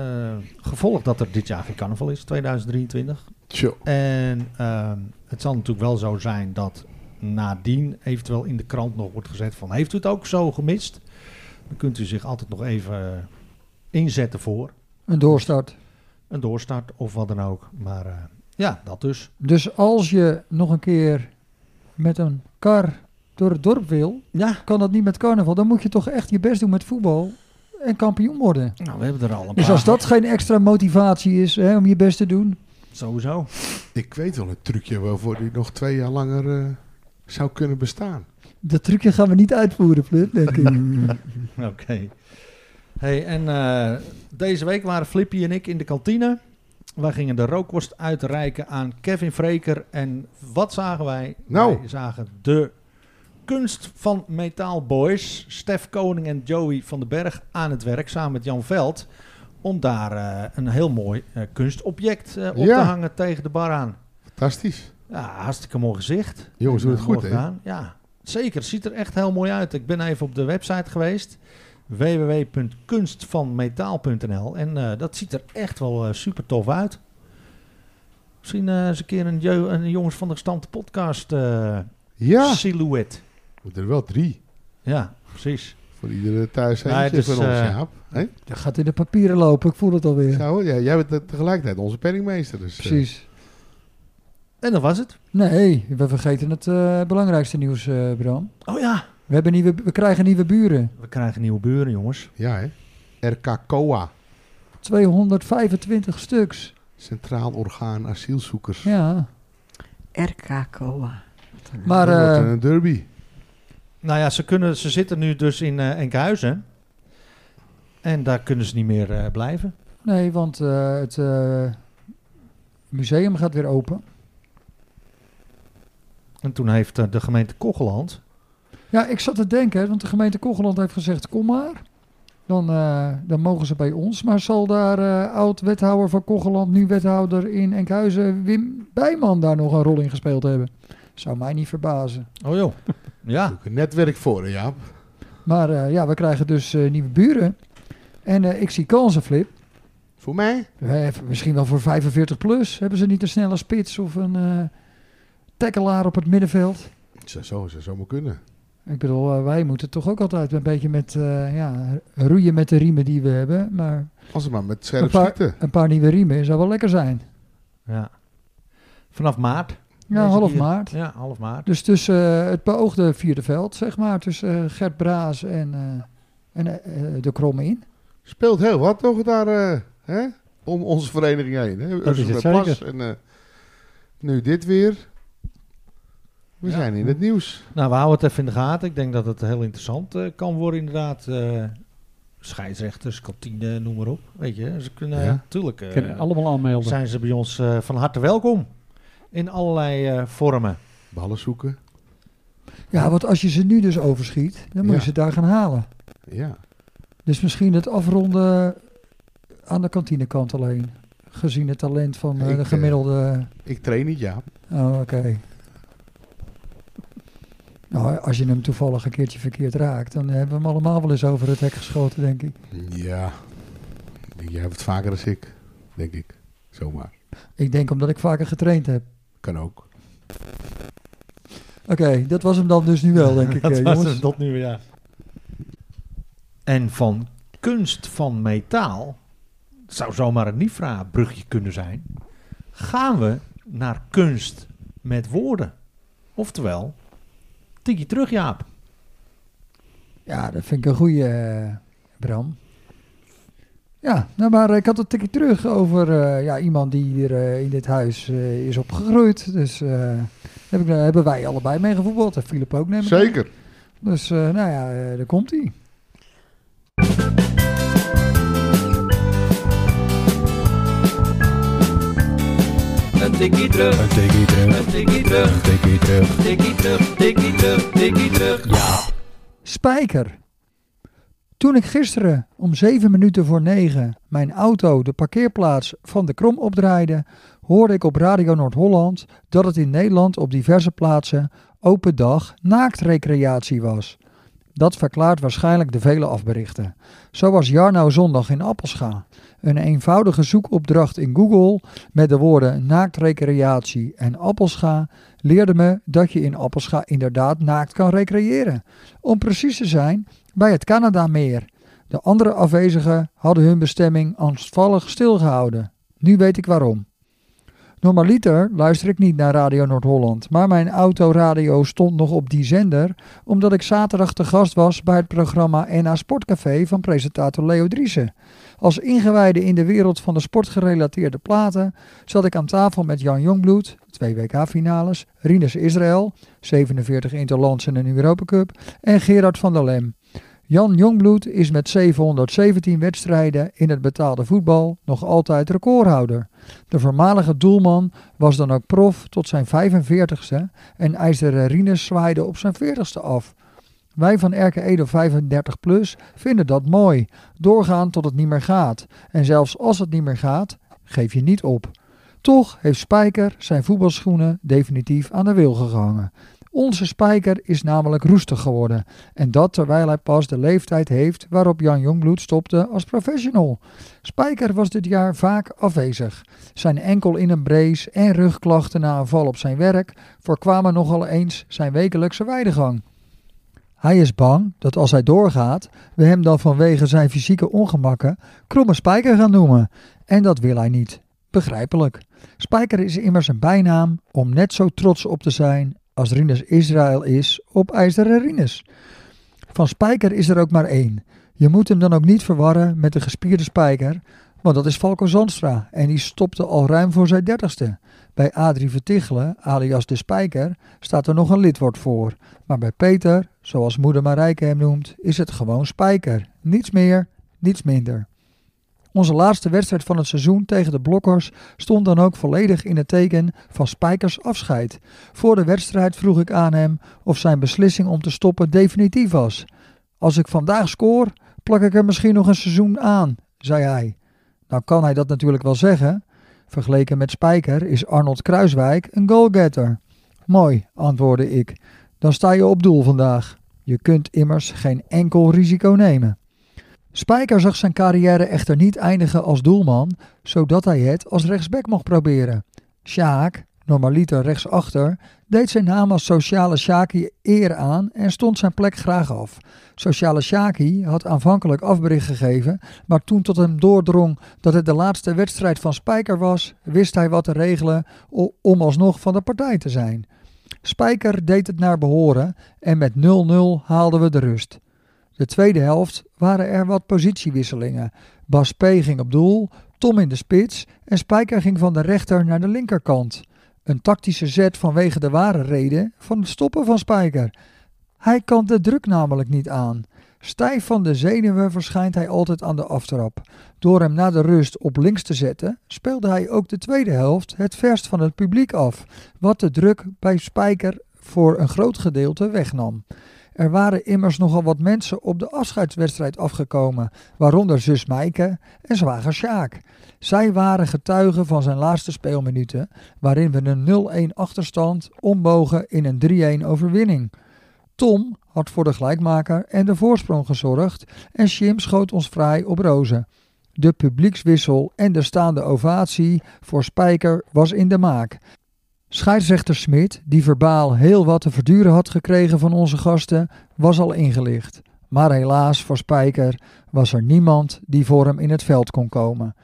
gevolg dat er dit jaar geen carnaval is, 2023.
Tjo.
En ehm, het zal natuurlijk wel zo zijn dat nadien eventueel in de krant nog wordt gezet van... heeft u het ook zo gemist? Dan kunt u zich altijd nog even eh, inzetten voor
Een doorstart.
een doorstart of wat dan ook. Maar eh, ja, dat dus.
Dus als je nog een keer met een kar door het dorp wil,
Ja,
kan dat niet met carnaval. Dan moet je toch echt je best doen met voetbal en kampioen worden.
nou, we hebben er al een
Dus
paar.
als dat geen extra motivatie is hè, om je best te doen,
Sowieso.
Ik weet wel een trucje waarvoor die nog twee jaar langer eh, zou kunnen bestaan.
Dat trucje gaan we niet uitvoeren, Flip, denk ik.
Oké. Hey, en eh, deze week waren Flippy en ik in de kantine. Wij gingen de rookworst uitreiken aan Kevin Freker. En wat zagen wij?
Nou.
Wij zagen de kunst van Metaal Boys. Stef Koning en Joey van den Berg aan het werk samen met Jan Veld. Om daar eh, een heel mooi eh, kunstobject eh, op
Ja.
te hangen tegen de bar aan.
Fantastisch.
Ja, hartstikke mooi gezicht.
Jongens, doen het
Eh,
goed,
mooi
hè?
gedaan. Ja, zeker. Ziet er echt heel mooi uit. Ik ben even op de website geweest. www.kunstvanmetaal.nl En eh, dat ziet er echt wel eh, super tof uit. Misschien eh, eens een keer een, jo- een Jongens van de Gestampte podcast eh
Ja.
silhouet.
We er wel drie.
Ja, precies.
Voor iedere thuis
Nee,
eentje
dus,
van ons,
eh,
Jaap. Hè?
Dat gaat in de papieren lopen, ik voel het alweer.
Zo, ja, jij bent eh, tegelijkertijd onze penningmeester. Dus, eh,
Precies.
En dat was het.
Nee, we vergeten het eh, belangrijkste nieuws, eh, Bram.
Oh ja,
We, hebben nieuwe, we krijgen nieuwe buren.
we krijgen nieuwe buren, jongens.
ja, hè. RK COA.
225 stuks.
Centraal Orgaan Asielzoekers.
Ja.
RK Coa.
Maar
Dat wordt
eh,
een derby.
Nou ja, ze, kunnen, ze zitten nu dus in eh, Enkhuizen. En daar kunnen ze niet meer eh, blijven.
nee, want eh, het eh, museum gaat weer open.
En toen heeft eh, de gemeente Kocheland
Ja, ik zat te denken, hè, want de gemeente Kogeland heeft gezegd, kom maar. Dan, eh, dan mogen ze bij ons. Maar zal daar eh, oud-wethouder van Kogeland, nu wethouder in Enkhuizen, Wim Bijman daar nog een rol in gespeeld hebben? Zou mij niet verbazen.
Oh joh. Ja.
Ook een netwerk voor, hè, Jaap.
Maar eh, ja, we krijgen dus eh, nieuwe buren. En eh, ik zie kansen, Flip.
Voor mij?
Eh, misschien wel voor 45 plus. Hebben ze niet een snelle spits of een eh, tackelaar op het middenveld.
Het zou zo, zou zomaar kunnen.
Ik bedoel, eh, wij moeten toch ook altijd een beetje met eh, ja, roeien met de riemen die we hebben. Maar
Als ze maar met
een
scherp
paar,
schieten.
een paar nieuwe riemen zou wel lekker zijn.
Ja. Vanaf maart.
Ja,
Deze
half
keer.
maart.
Ja, half maart.
Dus tussen eh, het beoogde vierde veld, zeg maar, tussen eh, Gert Braas en, eh, en eh, de Kromme in.
Speelt heel wat toch daar eh, hè? om onze vereniging heen. Hè?
is
Ursula
het
Plas en eh, nu dit weer. We
Ja.
zijn in het nieuws.
Nou, we houden het even in de gaten. Ik denk dat het heel interessant eh, kan worden inderdaad. Eh, scheidsrechters, kantine, noem maar op. Weet je, ze kunnen
Ja.
natuurlijk... eh,
Kunnen allemaal aanmelden.
zijn ze bij ons eh, van harte welkom. In allerlei eh, vormen.
Ballen zoeken.
Ja, want als je ze nu dus overschiet, dan moet
Ja.
je ze daar gaan halen.
Ja.
Dus misschien het afronden aan de kantinekant alleen. Gezien het talent van eh,
Ik,
de
eh,
gemiddelde.
Ik train niet, ja.
Oh, oké. Nou, als je hem toevallig een keertje verkeerd raakt, dan hebben we hem allemaal wel eens over het hek geschoten, denk ik.
Ja. Jij hebt het vaker dan ik, denk ik. Zomaar.
Ik denk omdat ik vaker getraind heb.
Kan ook.
Oké, dat was hem dan dus nu wel, denk ik. eh, jongens.
tot nu, ja. En van kunst van metaal, het zou zomaar een Nifra-brugje kunnen zijn, gaan we naar kunst met woorden. Oftewel, tikje terug, Jaap.
Ja, dat vind ik een goede, Bram. Ja, nou maar ik had het tikje terug over eh, ja, iemand die hier eh, in dit huis eh, is opgegroeid. Dus eh, heb ik, daar hebben wij allebei mee gevoetbald. En Philip ook, neem ik aan.
Zeker.
Dus eh, nou ja, eh, daar komt hij.
Een tikkie terug,
Een tikkie terug,
een tikkie terug,
een tikkie terug.
tikkie terug, tikkie terug, tikkie terug.
Spijker. Toen ik gisteren om zeven minuten voor negen mijn auto de parkeerplaats van de Krom opdraaide, hoorde ik op Radio Noord-Holland dat het in Nederland op diverse plaatsen open dag naaktrecreatie was. Dat verklaart waarschijnlijk de vele afberichten. Zo was Jarno zondag in Appelscha. Een eenvoudige zoekopdracht in Google met de woorden naaktrecreatie en Appelscha leerde me dat je in Appelscha inderdaad naakt kan recreëren. Om precies te zijn, bij het Canadameer. De andere afwezigen hadden hun bestemming angstvallig stilgehouden. Nu weet ik waarom. Normaliter luister ik niet naar Radio Noord-Holland, maar mijn autoradio stond nog op die zender omdat ik zaterdag te gast was bij het programma NA Sportcafé van presentator Leo Driessen. Als ingewijde in de wereld van de sportgerelateerde platen zat ik aan tafel met Jan Jongbloed, twee WK-finales, Rinus Israël, 47 Interlands en een Europa Cup, en Gerard van der Lem. Jan Jongbloed is met 717 wedstrijden in het betaalde voetbal nog altijd recordhouder. De voormalige doelman was dan ook prof tot zijn 45ste en IJzeren Rines zwaaide op zijn 40ste af. Wij van Erke Edo 35 plus vinden dat mooi. Doorgaan tot het niet meer gaat. En zelfs als het niet meer gaat, geef je niet op. Toch heeft Spijker zijn voetbalschoenen definitief aan de wilgen gehangen. Onze Spijker is namelijk roestig geworden. En dat terwijl hij pas de leeftijd heeft waarop Jan Jongbloed stopte als professional. Spijker was dit jaar vaak afwezig. Zijn enkel in een brace en rugklachten na een val op zijn werk voorkwamen nogal eens zijn wekelijkse weidegang. Hij is bang dat als hij doorgaat, we hem dan vanwege zijn fysieke ongemakken kromme Spijker gaan noemen. En dat wil hij niet. Begrijpelijk. Spijker is immers een bijnaam om net zo trots op te zijn als Rinus Israël is op IJzeren Rinus. Van Spijker is er ook maar één. Je moet hem dan ook niet verwarren met de gespierde Spijker, want dat is Falco Zandstra en die stopte al ruim voor zijn dertigste. Bij Adrie Vertichelen, alias de Spijker, staat er nog een lidwoord voor. Maar bij Peter, zoals moeder Marijke hem noemt, is het gewoon Spijker. Niets meer, niets minder. Onze laatste wedstrijd van het seizoen tegen de Blokkers stond dan ook volledig in het teken van Spijkers afscheid. Voor de wedstrijd vroeg ik aan hem of zijn beslissing om te stoppen definitief was. Als ik vandaag scoor, plak ik er misschien nog een seizoen aan, zei hij. Nou kan hij dat natuurlijk wel zeggen. Vergeleken met Spijker is Arnold Kruiswijk een goalgetter. Mooi, antwoordde ik. Dan sta je op doel vandaag. Je kunt immers geen enkel risico nemen. Spijker zag zijn carrière echter niet eindigen als doelman, zodat hij het als rechtsback mocht proberen. Sjaak, normaliter rechtsachter, deed zijn naam als sociale Shaki eer aan en stond zijn plek graag af. Sociale Shaki had aanvankelijk afbericht gegeven, maar toen tot hem doordrong dat het de laatste wedstrijd van Spijker was, wist hij wat te regelen o- om alsnog van de partij te zijn. Spijker deed het naar behoren en met 0-0 haalden we de rust. De tweede helft waren er wat positiewisselingen. Bas P. ging op doel, Tom in de spits en Spijker ging van de rechter naar de linkerkant. Een tactische zet vanwege de ware reden van het stoppen van Spijker. Hij kan de druk namelijk niet aan. Stijf van de zenuwen verschijnt hij altijd aan de aftrap. Door hem na de rust op links te zetten, speelde hij ook de tweede helft het verst van het publiek af, wat de druk bij Spijker voor een groot gedeelte wegnam. Er waren immers nogal wat mensen op de afscheidswedstrijd afgekomen, waaronder zus Mijke en zwager Sjaak. Zij waren getuigen van zijn laatste speelminuten, waarin we een 0-1 achterstand ombogen in een 3-1 overwinning. Tom had voor de gelijkmaker en de voorsprong gezorgd en Jim schoot ons vrij op rozen. De publiekswissel en de staande ovatie voor Spijker was in de maak. Scheidsrechter Smit, die verbaal heel wat te verduren had gekregen van onze gasten, was al ingelicht. Maar helaas voor Spijker was er niemand die voor hem in het veld kon komen.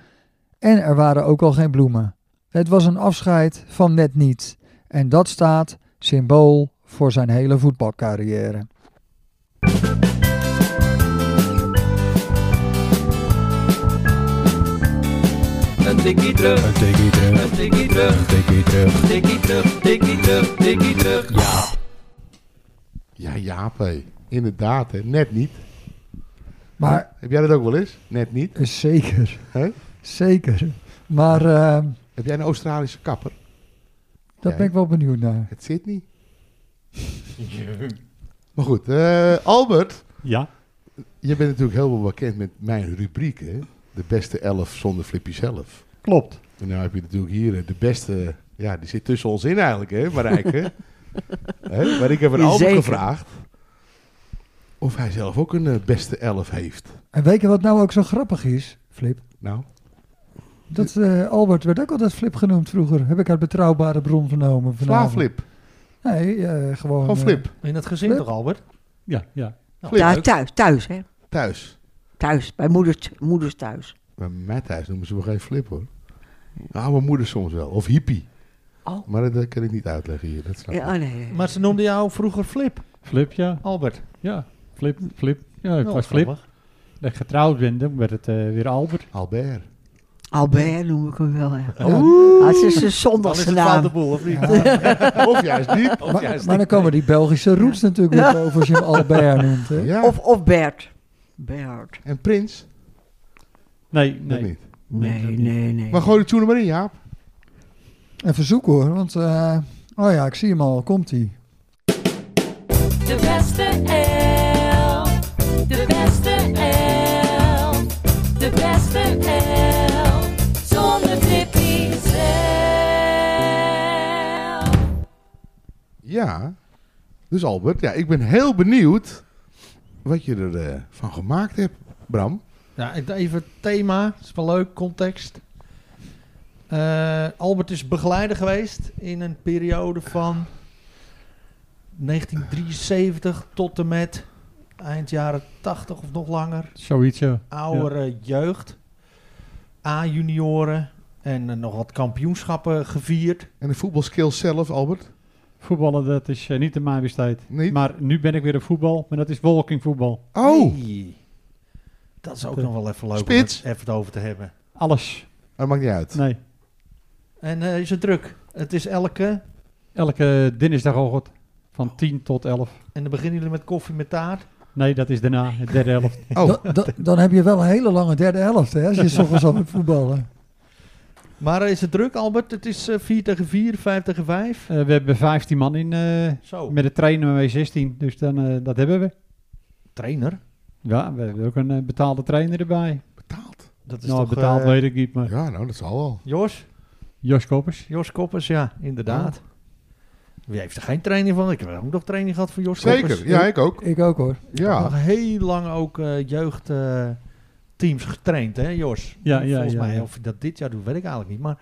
En er waren ook al geen bloemen. Het was een afscheid van net niet. En dat staat symbool voor zijn hele voetbalcarrière.
Een tikkie terug,
Een tikkie terug,
een tikkie terug,
een tikkie terug.
tikkie terug, tikkie terug, tikkie terug.
Ja.
Ja, Jaap, hé. inderdaad, hè. net niet.
Maar
Heb jij dat ook wel eens? Net niet.
eh, zeker,
Hè?
zeker. Maar eh,
Heb jij een Australische kapper?
daar ben ik wel benieuwd naar.
Het zit niet. maar goed, eh, Albert,
Ja,
je bent natuurlijk heel wel bekend met mijn rubriek, hè? De beste elf zonder Flippy zelf.
klopt.
En nou heb je natuurlijk hier eh, de beste, ja, die zit tussen ons in eigenlijk, hè, Marijke? hè? Maar ik heb een Albert
Jazeker.
gevraagd of hij zelf ook een eh, beste elf heeft.
En weet je wat nou ook zo grappig is, Flip?
Nou,
Dat eh, Albert werd ook altijd Flip genoemd vroeger. Heb ik uit betrouwbare bron vernomen. vanavond.
Vlaaflip,
Nee, eh, gewoon.
gewoon
eh,
Flip,
In het gezin
Flip?
toch, Albert?
Ja, ja.
Nou,
Daar
leuk.
thuis, thuis, hè?
thuis.
Thuis, bij moeders, moeders thuis.
Bij mij thuis noemen ze me geen Flip, hoor. Nou, mijn moeder soms wel, of hippie.
Oh.
Maar dat eh, kan ik niet uitleggen hier, dat snap ik.
Ja, oh nee, nee.
Maar ze noemden jou vroeger Flip,
Flip, ja.
Albert. Oh,
Ja, Flip, Flip. Ja, ik
Wel
was Flip.
grappig.
Dat ik getrouwd ben, dan werd het eh, weer Albert.
Albert.
Albert noem ik hem wel. Hè.
Ja.
Oeh, het is een
Dan is
zondagse
het foute
naam.
boel, of niet?
Of juist niet.
Of
Maar,
juist
maar dan
niet.
komen die Belgische roots natuurlijk weer boven als je hem Albert noemt. Hè?
Ja.
Of, of Bert. Bert.
En Prins?
Nee,
Nee.
nee.
niet.
Nee,
Nee,
dat
nee,
niet.
nee.
Maar gooi de tune er maar in, Jaap.
En verzoek hoor, want eh, oh ja, ik zie hem al, komt hij.
De beste elf. De beste elf. De beste elf. Zonder Flippy zelf.
Ja. Dus Albert, ja, ik ben heel benieuwd wat je ervan van gemaakt hebt, Bram.
Ja, Nou, ik- even het thema, is wel leuk, context. Eh, Albert is begeleider geweest in een periode van 1973 tot en met eind jaren 80 of nog langer.
Zoiets, eh, ja.
Oudere jeugd, A-junioren en eh, nog wat kampioenschappen gevierd.
En de voetbalskill zelf, Albert?
Voetballen, dat is eh, niet in mijn bestijd.
Niet?
Maar nu ben ik weer op voetbal, maar dat is walking voetbal.
oh,
Hey, dat is ook
De-
nog wel even leuk
Spits.
om het even over te hebben.
Alles.
dat maakt niet uit.
Nee.
En eh, is het druk? Het is elke...
Elke eh, dinsdagochtend van 10 tot 11.
En dan beginnen jullie met koffie met taart.
Nee, dat is daarna, het derde helft.
Oh.
Da- da- dan heb je wel een hele lange derde helft hè, als je soms al moet voetballen.
Maar eh, is het druk, Albert? Het is eh, 4 tegen 4, 5 tegen 5.
Eh, we hebben 15 man in, eh,
Zo.
met de trainer mee 16, dus dan, eh, dat hebben we.
trainer?
Ja, we hebben ook een eh, betaalde trainer erbij.
Betaald.
Dat is
nou,
toch...
betaald
eh,
weet ik niet, maar
Ja, nou, dat zal wel.
Jos?
Jos Koppers.
Jos Koppers, ja, inderdaad. Wie heeft er geen training van? Ik heb ook nog training gehad van Jos Koppers.
Zeker, ja, ik ook.
Ik ook hoor.
Nog
Ja.
heel lang ook eh, jeugdteams eh, getraind, hè, Jos?
Ja, ja,
Volgens
ja,
mij,
ja.
of je dat dit jaar doet, weet ik eigenlijk niet. Maar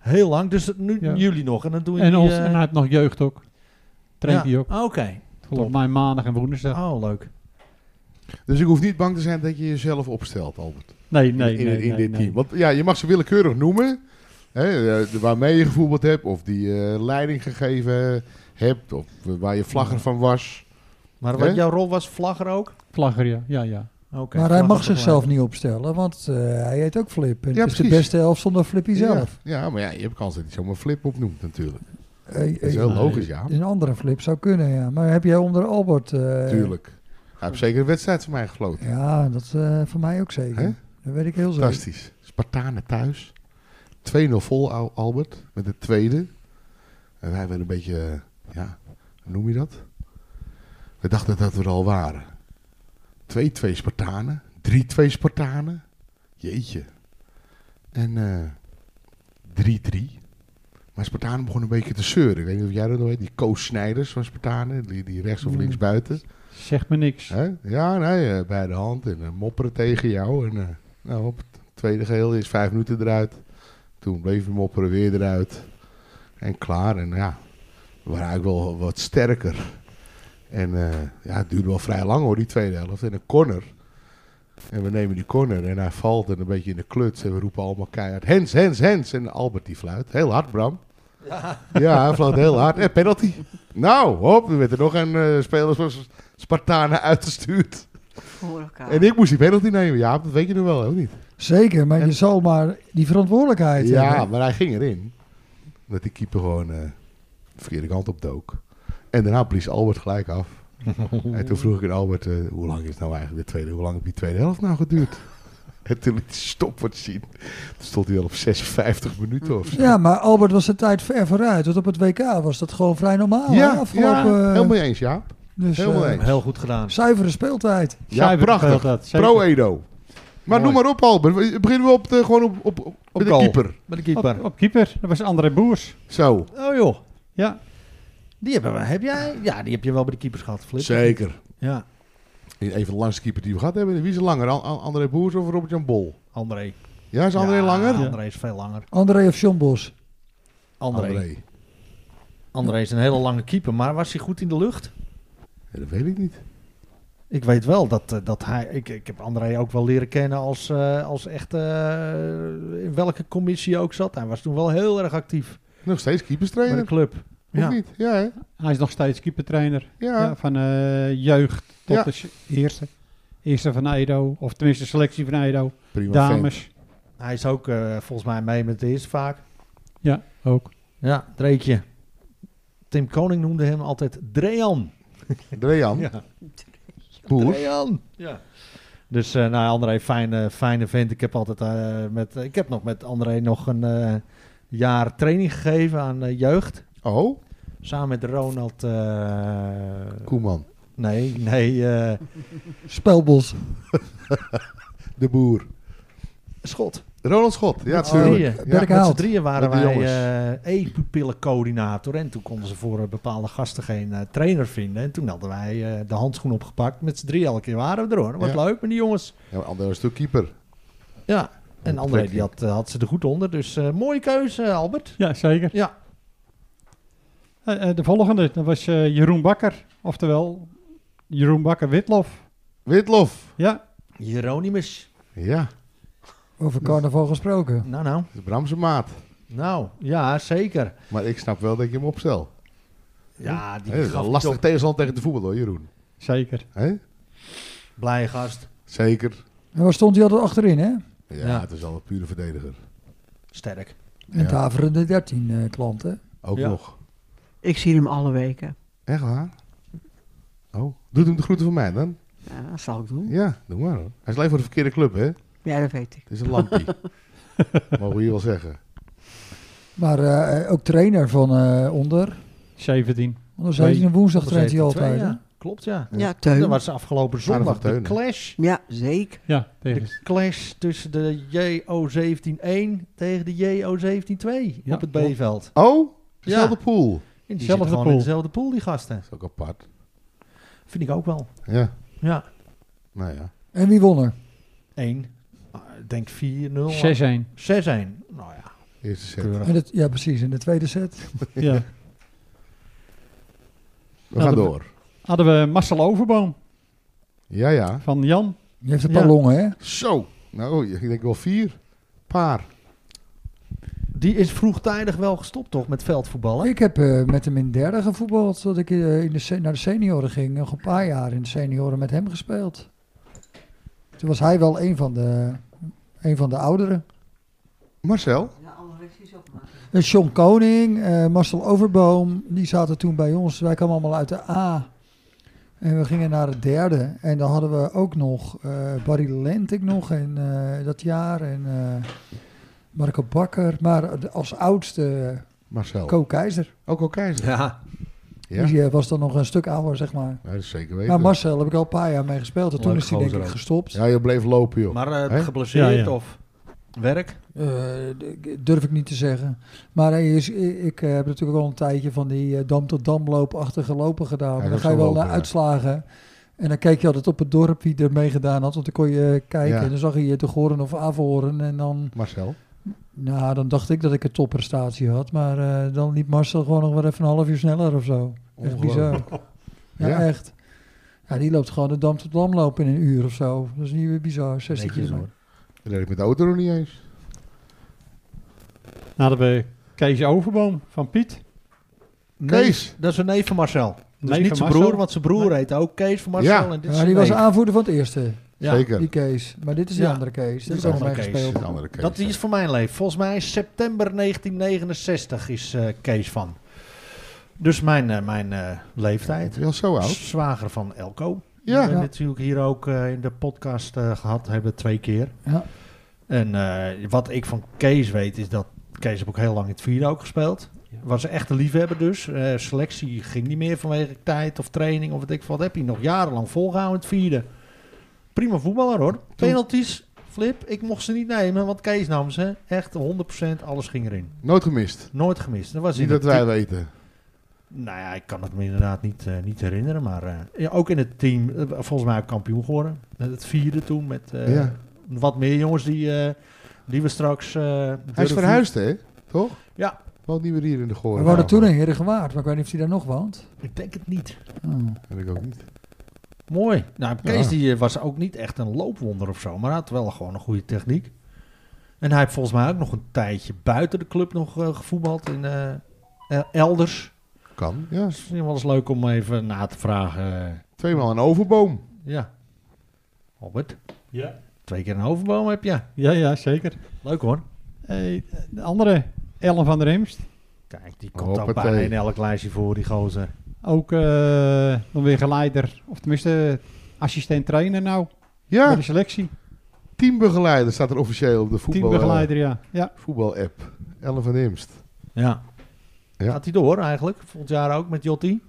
Heel lang, dus nu
Ja.
jullie nog. En dan doen
En,
jullie...
ons,
eh,
en hij heeft nog jeugd ook. Traint
ja.
hij ook.
Ah, Oké.
Volgens mij maandag en woensdag.
Oh, leuk.
Dus ik hoef niet bang te zijn dat je jezelf opstelt, Albert.
Nee,
In-
nee,
in,
nee.
in
nee,
dit
nee.
team. Want ja, je mag ze willekeurig noemen. Hè, eh, waarmee je gevoetbald hebt. Of die eh, leiding gegeven hebt. Of waar je vlagger van was.
Maar wat
Hè?
jouw rol was, vlagger ook?
Vlagger, ja. ja, ja.
Oké.
maar hij
vlagger
mag
toch wel.
zichzelf niet opstellen, want eh, hij heet ook Flip. En
Ja,
het is de
precies.
beste elf zonder Flippy zelf.
Ja, ja, maar ja, je hebt kans dat je zomaar flip opnoemt natuurlijk.
Eh,
Dat is
eh,
heel
Nee.
logisch, ja.
Een andere Flip zou kunnen, ja. Maar heb jij onder Albert... eh,
Tuurlijk. Hij heeft zeker een wedstrijd van mij gefloten.
Ja, dat eh, voor mij ook zeker.
Hè?
Dat weet ik heel zeker.
Fantastisch. Spartanen thuis. 2-0 vol, Al- Albert. Met de tweede. En wij werden een beetje, eh, ja, hoe noem je dat? We dachten dat we er al waren. 2-2 Spartanen. 3-2 Spartanen. Jeetje. En eh, 3-3. Maar Spartanen begon een beetje te zeuren. Ik weet niet of jij dat nog weet. Die Koos Snijders van Spartanen. Die, die rechts of
Nee.
links buiten.
Zegt me niks.
Hè? Ja, nee, eh, bij de hand en eh, mopperen tegen jou. En, eh, nou, op het tweede geheel is vijf minuten eruit. Toen bleef je mopperen weer eruit. En klaar. En ja, we waren eigenlijk wel wat sterker. En eh, ja, het duurde wel vrij lang hoor, die tweede helft. En een corner. En we nemen die corner en hij valt en een beetje in de kluts. En we roepen allemaal keihard, Hens, Hens, Hens. En Albert die fluit. Heel hard, Bram. Ja, hij fluit heel hard. En penalty. Nou, hop, er werd er nog een eh, speler van Spartanen uitgestuurd.
Voor elkaar.
En ik moest die penalty nemen. Ja, dat weet je nog wel, hè, of niet?
Zeker, maar
En-
je zal maar die verantwoordelijkheid
Ja,
hebben.
maar hij ging erin. Dat die keeper gewoon eh, de verkeerde kant op dook. En daarna blies Albert gelijk af. en toen vroeg ik aan Albert, eh, hoe lang is nou eigenlijk de tweede? Hoe lang heb die tweede helft nou geduurd? en toen liet hij stopwatch zien. Toen stond hij al op 56 minuten of zo.
Ja, maar Albert was de tijd ver vooruit. Want op het WK was dat gewoon vrij normaal. hè,
ja, ja,
afgelopen, eh,
helemaal eens, ja.
dus,
helemaal
eh,
eens.
Heel goed gedaan.
Zuivere speeltijd.
Ja,
Zuiver
prachtig.
speelt dat, zeker.
Pro-Edo. Maar
Mooi.
noem maar op, Albert. We- Beginnen we op de, gewoon op, op, op, met de
goal.
keeper.
Met de
Op,
keeper.
op keeper. Dat was André Boers.
Zo.
Oh joh.
Ja.
Die hebben we. Heb jij? Ja, die heb je wel bij de keepers gehad, Flip.
Zeker.
Ja,
Een van de langste keepers die we gehad hebben. Wie is er langer? An- An- André Boers of Robert-Jan Bol?
André.
Ja, is André
Ja,
langer?
André is veel langer.
André of John Bos?
André. André. is een hele lange keeper, maar was hij goed in de lucht?
Ja, dat weet ik niet.
Ik weet wel dat, eh, dat hij... Ik, ik heb André ook wel leren kennen als, eh, als echt... eh, in welke commissie hij ook zat. Hij was toen wel heel erg actief
Nog steeds
bij de
keeperstrainer.
club.
Of
Ja.
niet? Ja, hè?
Hij is nog steeds keepertrainer.
Ja.
Ja. van eh, jeugd tot
Ja.
de se- eerste. Eerste van Edo. Of tenminste de selectie van Edo.
Prima vent.
Dames.
Hij is ook eh, volgens mij mee met de eerste vaak.
Ja, ook.
Ja, Dreetje. Tim Koning noemde hem altijd Drean.
Drean. Boers.
Drean. Ja. Dus eh nou, André, fijne, fijne vent. Ik heb altijd eh, met, ik heb nog met André nog een eh, jaar training gegeven aan eh, jeugd.
Oh,
Samen met Ronald. eh,
Koeman.
nee, nee. eh,
Spelbos.
De boer.
Schot.
Ronald Schot. Ja,
Met z'n
natuurlijk.
drieën.
Berk-
Met z'n
Hout.
drieën waren
Met de
wij
jongens.
eh e-pupillencoördinator. En toen konden ze voor eh, bepaalde gasten geen eh, trainer vinden. En toen hadden wij eh, de handschoen opgepakt. Met z'n drieën elke keer waren we er hoor. Dat was
Ja.
leuk met die jongens.
Ja, maar André was natuurlijk keeper.
Ja, en
Perfect.
André die had, eh, had ze er goed onder. Dus eh, mooie keuze, Albert.
Ja, zeker.
Ja.
Eh, eh, de volgende, dat was eh, Jeroen Bakker. Oftewel, Jeroen Bakker Witlof.
Witlof.
Ja,
Jeronimus.
Ja,
Over carnaval gesproken.
Nou, nou.
dat is Bramse maat.
Nou, ja, zeker.
Maar ik snap wel dat je hem opstelt.
Ja, die
Hè, dat is
gaf
een
niet
lastig
op.
tegenstand tegen de voetbal hoor, Jeroen.
zeker.
Hè?
Blije gast.
Zeker.
En waar stond hij altijd achterin, hè?
Ja,
Ja.
het is al een pure verdediger.
Sterk.
En
Ja.
Taverende 13 eh, klanten.
Ook
Ja.
nog.
Ik zie hem alle weken.
Echt waar? Oh, doet hem de groeten van mij dan?
Ja, dat zal ik doen.
Ja, doe maar hoor. Hij is alleen voor de verkeerde club, hè?
Ja, dat weet ik.
Het is een lampie. Mogen we hier wel zeggen.
Maar eh, ook trainer van eh, onder.
17.
Onder 17 woensdag
Onder
traint hij
17-2,
altijd. hè?
ja. Klopt, ja.
Ja.
Ja,
Dat
Teun.
was afgelopen
Aardig
zondag
van
de
Teun, hè?
clash.
Ja, zeker.
Ja, tegen.
De clash tussen de JO17-1 tegen de JO17-2
Ja,
op het B-veld.
Oh,
Ja.
dezelfde pool.
In
Zelfde
dezelfde pool.
pool.
In dezelfde pool, die gasten.
Dat is ook apart.
Vind ik ook wel.
Ja,
Ja,
nou ja.
En wie won er?
1. Ik denk 4-0. 6-1.
6-1.
6-1. Nou ja,
Eerste set.
Keurig.
En het, ja, precies. In de tweede set.
Ja.
We gaan
dat-
door.
Hadden we Marcel Overboom
Ja, ja.
van Jan.
Je heeft een paar
Ja.
longen, hè?
Zo. Nou, ik denk wel vier. Paar.
Die is vroegtijdig wel gestopt, toch, met veldvoetballen?
Ik heb eh, met hem in derde gevoetbald. Dat ik eh, in de se- naar de senioren ging. Nog een paar jaar in de senioren met hem gespeeld. Toen was hij wel een van de, een van de ouderen.
Marcel?
De anorexie ook maar.
En John Koning, eh, Marcel Overboom, die zaten toen bij ons. Wij kwamen allemaal uit de A. En we gingen naar het derde. En dan hadden we ook nog eh Barry Lentik nog in eh, dat jaar. En eh, Marco Bakker. Maar de- als oudste
Marcel.
Co Keizer.
Ook al keizer.
Ja,
Oh. Ja.
Die eh, was dan nog een stuk ouder, zeg maar.
Ja, dat is zeker weten.
Maar Marcel heb ik al een paar jaar mee gespeeld. En toen
Leuk
is hij denk
gozer
ik
ook.
gestopt.
Ja, je bleef lopen, joh.
maar eh,
Hè?
geblesseerd
Ja, ja.
of werk?
Eh, d- durf ik niet te zeggen. Maar hij is, ik, ik, eh, heb natuurlijk al een tijdje van die eh, dam tot damloopachtige lopen gedaan.
Ja,
Maar dan
dat
ga je wel
zal lopen,
naar
ja.
uitslagen. En dan keek je altijd op het dorp wie er mee gedaan had. Want dan kon je eh, kijken
Ja.
en dan zag je de Goren of Averhoorn. En dan,
Marcel.
nou, dan dacht ik dat ik een topprestatie had. Maar eh, dan liep Marcel gewoon nog wel even een half uur sneller of zo. Echt bizar. Ja,
Ja.
echt. Ja, die loopt gewoon de dam tot dam lopen in een uur of zo. Dat is niet weer bizar. 60
Netjes,
kilometer.
hoor.
Dat deed ik met de auto nog niet eens.
Dan hadden we Kees Overboom van Piet.
Kees.
dat is een neef van Marcel. Dus
Neef
niet
van
zijn
Marcel.
broer, want zijn broer heet ook Kees van Marcel.
Ja.
en dit is
Ja, die
zijn
was
neef.
aanvoerder van het eerste,
Ja.
Zeker.
die Kees. Maar dit is die
Ja.
andere Kees.
Dit
Dit
is
is ook nog
andere
mee
Kees.
gespeeld.
Een andere Kees.
Dat die is voor mijn leven. Volgens mij is september 1969 is eh, Kees van. Dus mijn, eh, mijn eh,
Ben
leeftijd.
je al zo oud?
Zwager van Elko.
Ja.
Die we
Ja.
natuurlijk hier ook eh, in de podcast eh, gehad hebben, twee keer.
Ja.
En eh, wat ik van Kees weet is dat Kees heb ook heel lang in het vierde ook gespeeld. Was een echte liefhebber dus. Eh, selectie ging niet meer vanwege tijd of training of wat ik wat. Heb hij nog jarenlang volgehouden in het vierde. Prima voetballer hoor. Penalties, flip. Ik mocht ze niet nemen, want Kees nam ze. Echt 100% alles ging erin.
Nooit gemist.
Nooit gemist. Dat was
Niet
in
dat
het
wij weten.
nou ja, ik kan het me inderdaad niet, eh, niet herinneren. Maar eh, ja, ook in het team, eh, volgens mij ook kampioen geworden. Met Het vierde toen, met eh,
Ja.
wat meer jongens die, eh, die we straks... eh,
Hij is
durven-
verhuisd, hè? Toch?
Ja.
Woont niet meer hier in de Goor.
We wonen toen in Herengewaard, maar ik weet niet of hij daar nog woont.
Ik denk het niet.
Oh.
Dat ik ook niet.
Mooi. Nou, Kees
Ja.
die eh, was ook niet echt een loopwonder of zo. Maar hij had wel gewoon een goede techniek. En hij heeft volgens mij ook nog een tijdje buiten de club nog eh, gevoetbald. In, eh, eh, elders.
Kan, ja.
Dus misschien wel eens leuk om even na te vragen. eh,
Tweemaal een overboom.
ja. Albert,
Ja.
twee keer een overboom heb je.
Ja, ja, zeker.
Leuk hoor.
Eh, de andere, Ellen van der Imst.
Kijk, die komt ook
Hoppatee.
bijna in elk lijstje voor, die gozer.
Ook eh, dan weer geleider, of tenminste assistent trainer nou, bij
Ja,
de selectie.
teambegeleider staat er officieel op de voetbal, eh,
Teambegeleider, ja. ja.
voetbal-app. Ellen van Imst.
Ja.
Ja.
Gaat hij door eigenlijk? Volgend jaar ook met Jotti?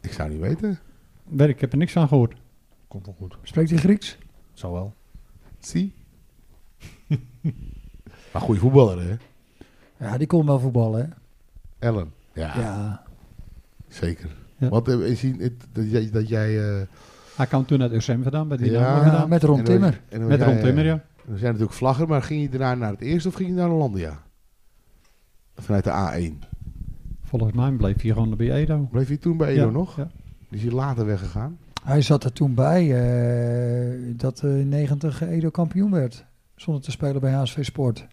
Ik zou niet weten.
Werk, ik heb er niks aan gehoord.
Komt wel goed.
Spreekt hij Grieks?
Zo wel.
Zie. maar goede voetballer, hè?
Ja, die kon wel voetballen, hè?
Ellen. Ja,
Ja.
zeker.
Ja.
Wat eh, is hij- het- dat jij... Dat jij eh,
Hij kwam toen uit Ursem vandaan, bij Dynamo
Ja.
Ja,
vandaan.
met Ron
en dan-
Timmer.
en dan
Met
jij,
Ron Timmer,
eh,
ja.
We zijn natuurlijk vlagger, maar ging je daarna naar het eerste of ging je naar Hollandia? Vanuit de A1.
Volgens mij bleef hij gewoon bij Edo.
Bleef je toen bij Edo
Ja,
nog?
ja.
Die is hier later weggegaan.
Hij zat er toen bij eh, dat eh, in 90 Edo kampioen werd. Zonder te spelen bij HSV Sport.
Ja,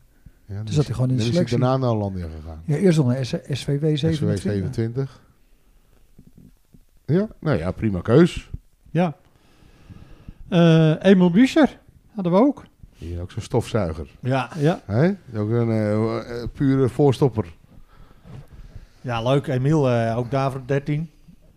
Toen zat Dus hij gewoon in de
Dus dan is
selectie.
hij daarna naar Hollandia gegaan.
Ja, eerst nog naar S- SVW 27.
SW 27. Ja, nou ja, prima keus.
Ja. Eh Emil Buescher hadden we ook.
Hier ook zo'n stofzuiger.
Ja.
Ja.
Hè? Ook een eh, eh, pure voorstopper.
Ja, leuk. Emiel, eh, ook daar voor 13.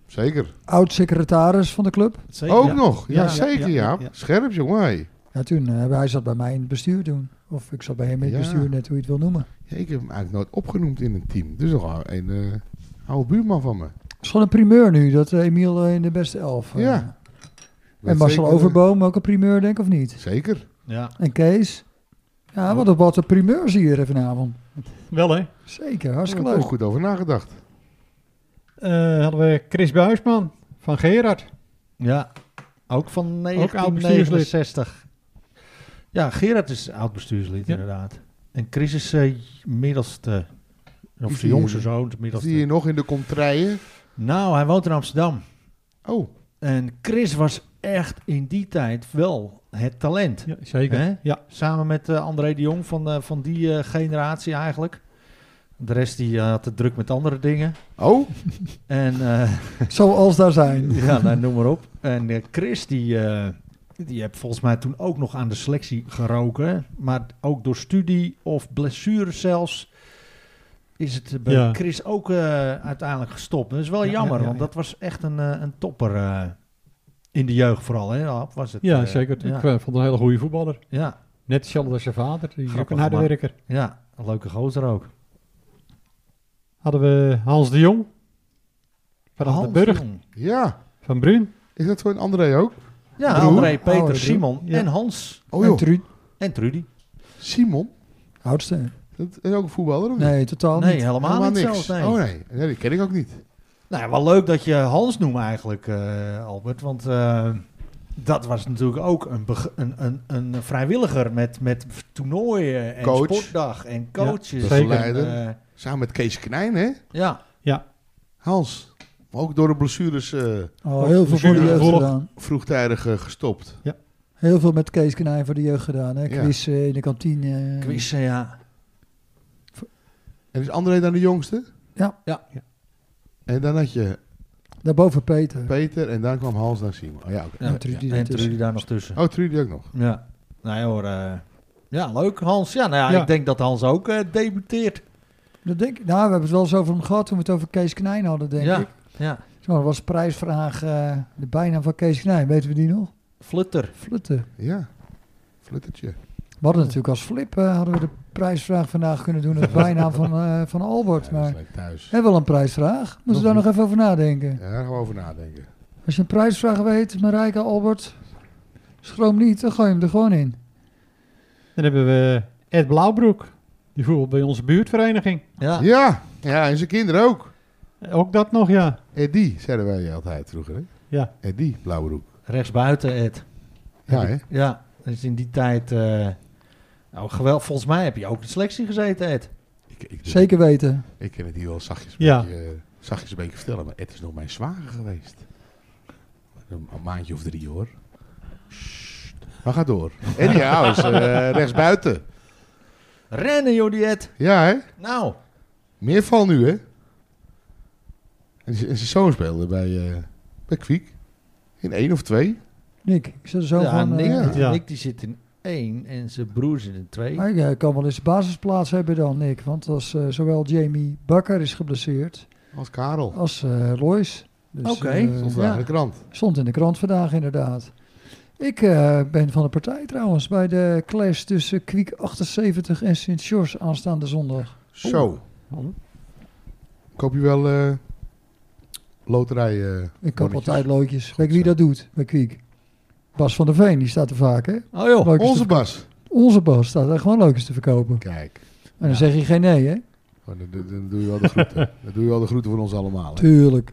Zeker.
Oud-secretaris van de club.
Zeker.
Ook
ja.
nog. Ja,
Ja, ja,
zeker ja,
ja, ja, ja.
Scherp jongen. hé.
Ja, toen, eh, hij zat bij mij in het bestuur toen. Of ik zat bij hem in het
Ja.
bestuur, net hoe je het wil noemen.
Ja, ik heb hem eigenlijk nooit opgenoemd in een team. Dus nog een eh oude buurman van me.
Het is gewoon een primeur nu, dat eh, Emiel eh, in de beste elf. eh,
Ja.
En
Weet
Marcel
zeker-
Overboom ook een primeur, denk ik, of niet?
Zeker.
Ja.
En Kees? Ja, wat een, wat een primeur zie je er vanavond.
Wel, hè?
Zeker,
Daar heb
hartstikke
ik ook
leuk.
goed over nagedacht.
Eh, hadden we Chris Buisman van Gerard.
Ja. Ook van
oud bestuurslid.
1969. Ja, Gerard is oud bestuurslid
Ja.
inderdaad. En Chris is eh, middelste,
Is
of de
hij-
jongste zoon, de middelste.
Zie je nog in de contraien?
Nou, hij woont in Amsterdam.
Oh,
En Chris was echt in die tijd wel het talent.
Ja, zeker.
Hè?
Ja.
Samen met eh, André de Jong van, eh, van die eh, generatie eigenlijk. De rest die eh, had het druk met andere dingen.
oh,
En eh,
Zoals daar zijn.
ja, nou, noem maar op. En eh, Chris, die, eh, die heb volgens mij toen ook nog aan de selectie geroken. Maar ook door studie of blessure zelfs is het bij
Ja.
Chris ook eh, uiteindelijk gestopt. Dat is wel
Ja,
jammer,
ja, ja,
want
ja.
dat was echt een, eh, een topper eh, in de jeugd vooral. Hè? Ab, Was het,
Ja,
eh,
zeker.
Ja,
Ik eh, vond een hele goede voetballer.
ja,
Net hetzelfde als zijn vader. Die is ook
Grappig,
een harde
man.
werker.
ja, een leuke gozer ook.
Hadden we Hans de Jong. Van
Hans
Hardenburg.
Jong.
ja.
Van Bruin.
Is dat voor een André ook?
Ja,
Broer.
André, Peter,
Oh, broer.
Simon
Ja.
en Hans.
Oh
en
joh,
Truud,
En Trudy.
Simon. Oh,
oudste.
Dat is ook een voetballer of niet?
Nee, totaal
Nee,
niet.
helemaal, niet
niks.
zelfs. Nee.
Oh nee. nee, die ken ik ook niet.
Nou, wel leuk dat je Hans noemt eigenlijk, eh, Albert. Want eh, dat was natuurlijk ook een, beg- een, een, een vrijwilliger met, met toernooien en
Coach.
sportdag en coaches.
zeker.
Eh,
Samen met Kees Knijn, hè?
ja,
Hans. Maar ook door de blessures eh,
Oh, heel veel voor de
Blessure
jeugd
gevolgd.
gedaan.
vroegtijdig eh, gestopt.
Heel veel met Kees Knijn voor de jeugd gedaan. Hè?
Ja.
Quiz eh, in de kantine. eh.
quizzen, ja.
En is André dan de jongste?
Ja.
Ja.
En dan had je
Daarboven Peter.
Peter en dan kwam Hans naar Simon. Oh ja, oké.
ja
En Trudy
ja, en
daartussen.
Trudy daar nog tussen.
Oh, Trudy ook nog.
Ja, nou ja, hoor. eh, ja, leuk Hans. Ja, nou ja,
Ja.
ik denk dat Hans ook eh, debuteert.
Dat denk ik. Nou, we hebben het wel eens over hem gehad toen we het over Kees Knijn hadden, denk
ja,
ik.
ja.
Zo, dat was prijsvraag. eh, de bijnaam van Kees Knijn, weten we die nog?
Flutter.
Flutten.
Ja. Fluttertje.
We hadden natuurlijk als flip eh, hadden we de prijsvraag vandaag kunnen doen. De bijnaam van, eh, van Albert.
Ja, dat
Maar
is leuk thuis.
hebben we wel een prijsvraag? Moeten we daar
niet.
nog even over nadenken.
Ja, daar gaan we over nadenken.
Als je een prijsvraag weet, Marijke, Albert, schroom niet, dan gooi je hem er gewoon in.
Dan hebben we Ed Blauwbroek. Die voetbalt bij onze buurtvereniging. Eh,
Ja.
Ja. Ja, en zijn kinderen ook.
Ook dat nog, ja.
Eddie, zeiden wij altijd vroeger, hè?
Ja.
Eddie, Blauwbroek.
Rechtsbuiten, Ed.
Ja, hè?
Ja, dus in die tijd. eh nou, geweld, volgens mij heb je ook in de selectie gezeten, Ed.
Ik, ik,
Zeker weten.
ik ken het hier wel zachtjes een,
Ja.
beetje, eh, zachtjes een beetje vertellen, maar Ed is nog mijn zwager geweest. Een, een maandje of drie, hoor. Sst. Maar ga door. Eddie Houw is eh, rechtsbuiten.
Rennen, joh, die Ed.
Ja, hè?
Nou,
Meer val nu, hè? En, z- en zijn zoon speelde bij, eh, bij Kwiek. In één of twee.
Nick, ik zat er zo
ja,
van...
Nick,
eh,
ja.
Ja.
Nick die zit in één en zijn broer zit in twee.
Maar hij kan wel eens basisplaats hebben dan, Nick. Want als eh, zowel Jamie Bakker is geblesseerd
Als Karel.
als eh Lois. Dus,
Oké.
eh,
Stond
ja,
vandaag in de krant.
stond in de krant vandaag inderdaad. Ik eh, ben van de partij trouwens bij de clash tussen Kwiek 78 en Sint-George aanstaande zondag.
Zo.
Oeh.
Koop je wel eh, loterij... eh,
Ik koop
bonnetjes?
altijd loodjes. Weet je wie
zo.
dat doet bij Kwiek? Bas van der Veen, die staat er vaak hè?
Oh joh,
Loodjes
Onze
te-
Bas.
onze Bas staat er gewoon loodjes te verkopen.
Kijk.
En dan
Ja.
zeg je geen nee hè?
Oh, Dan, dan- dan doe je wel de groeten. dan doe je wel de groeten voor ons allemaal. hè.
Tuurlijk.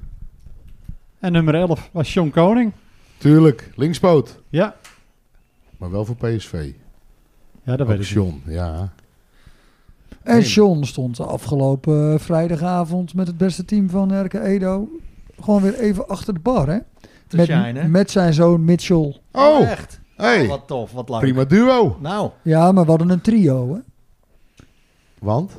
En nummer 11 was John Koning.
Tuurlijk. Linkspoot.
Ja.
Maar wel voor PSV.
Ja, dat weet ik.
Action. Ja.
En John stond de afgelopen eh, vrijdagavond met het beste team van Erke Edo gewoon weer even achter de bar, hè?
te
met,
shine, hè?
met zijn zoon Mitchell.
Oh.
echt. Oh,
Hey.
wat tof, wat leuk.
Prima duo.
Nou,
Ja, maar we hadden een trio, hè?
Want?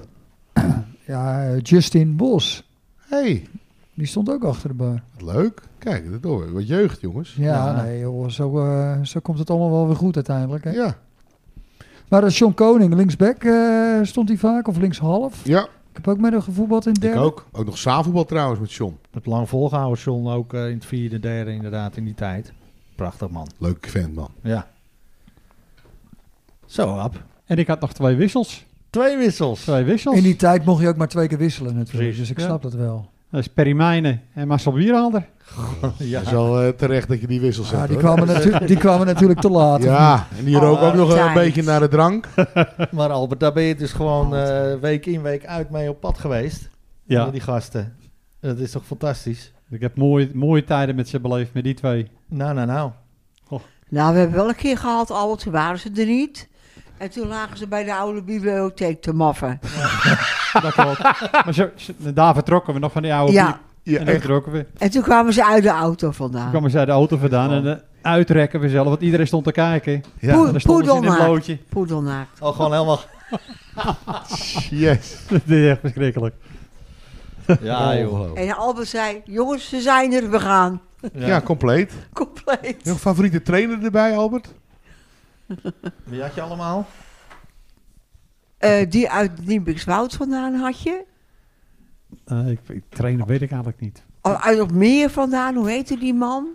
Ja, eh, Justin Bos,
Hey.
die stond ook achter de bar.
Wat leuk. Kijk, dat hoor. Wat jeugd, jongens.
Ja,
Ja.
nee, joh, zo, eh, zo komt het allemaal wel weer goed uiteindelijk, hè?
Ja.
Maar eh, John Koning, linksback eh, stond hij vaak, of linkshalf.
Ja.
Ik heb ook met hem gevoetbald in
Ik
derde.
ook. Ook nog zaalvoetbal trouwens met John.
het lang volgehouden, John, ook eh, in het vierde, derde inderdaad, in die tijd. Prachtig man.
Leuk vent, man.
Ja. Zo, Ab.
En ik had nog twee wissels.
Twee wissels.
Twee wissels.
In die tijd mocht je ook maar twee keer wisselen natuurlijk,
Precies,
dus ik
ja.
snap dat wel.
Dat is Perry Mijnen en Marcel Bierhaalder.
Ja.
Het is wel eh, terecht dat je die wissel zet.
Ja, Ah, die,
hoor.
kwamen natu- die kwamen natuurlijk te laat.
Ja, en
Oh,
die rook ook nog een
Altijd.
beetje naar de drank.
Maar Albert, daar ben je dus gewoon eh, week in, week uit mee op pad geweest.
Ja.
Met die gasten. Dat is toch fantastisch?
Ik heb mooie, mooie tijden met ze beleefd, met die twee.
Nou, nou, nou.
Nou, we hebben wel een keer gehad, Albert, toen waren ze er niet. En toen lagen ze bij de oude bibliotheek te maffen.
Dat klopt. maar zo, zo- daar vertrokken we nog van die oude piep.
Ja, Ah.
Ja,
en daar
echt.
vertrokken we. Toen
en toen kwamen ze uit de auto vandaan.
kwamen ze uit de auto vandaan en eh, uitrekken we zelf, want iedereen stond te kijken.
Poe-
En dan stonden ze in een
poedelnaakt.
loodje.
Poedelnaakt.
Oh, gewoon helemaal...
Yes.
Dit is echt verschrikkelijk.
Ja, Ah, joh.
Ongelooflijk.
En Albert zei, jongens, ze zijn er, we gaan.
Ja, compleet.
Compleet.
Jouw favoriete trainer erbij, Albert?
Wie had je allemaal?
Eh, die uit Niebikswoud vandaan had je.
Eh, ik, ik- trainen weet ik eigenlijk niet.
Oh, Uit op meer vandaan, hoe heette die man?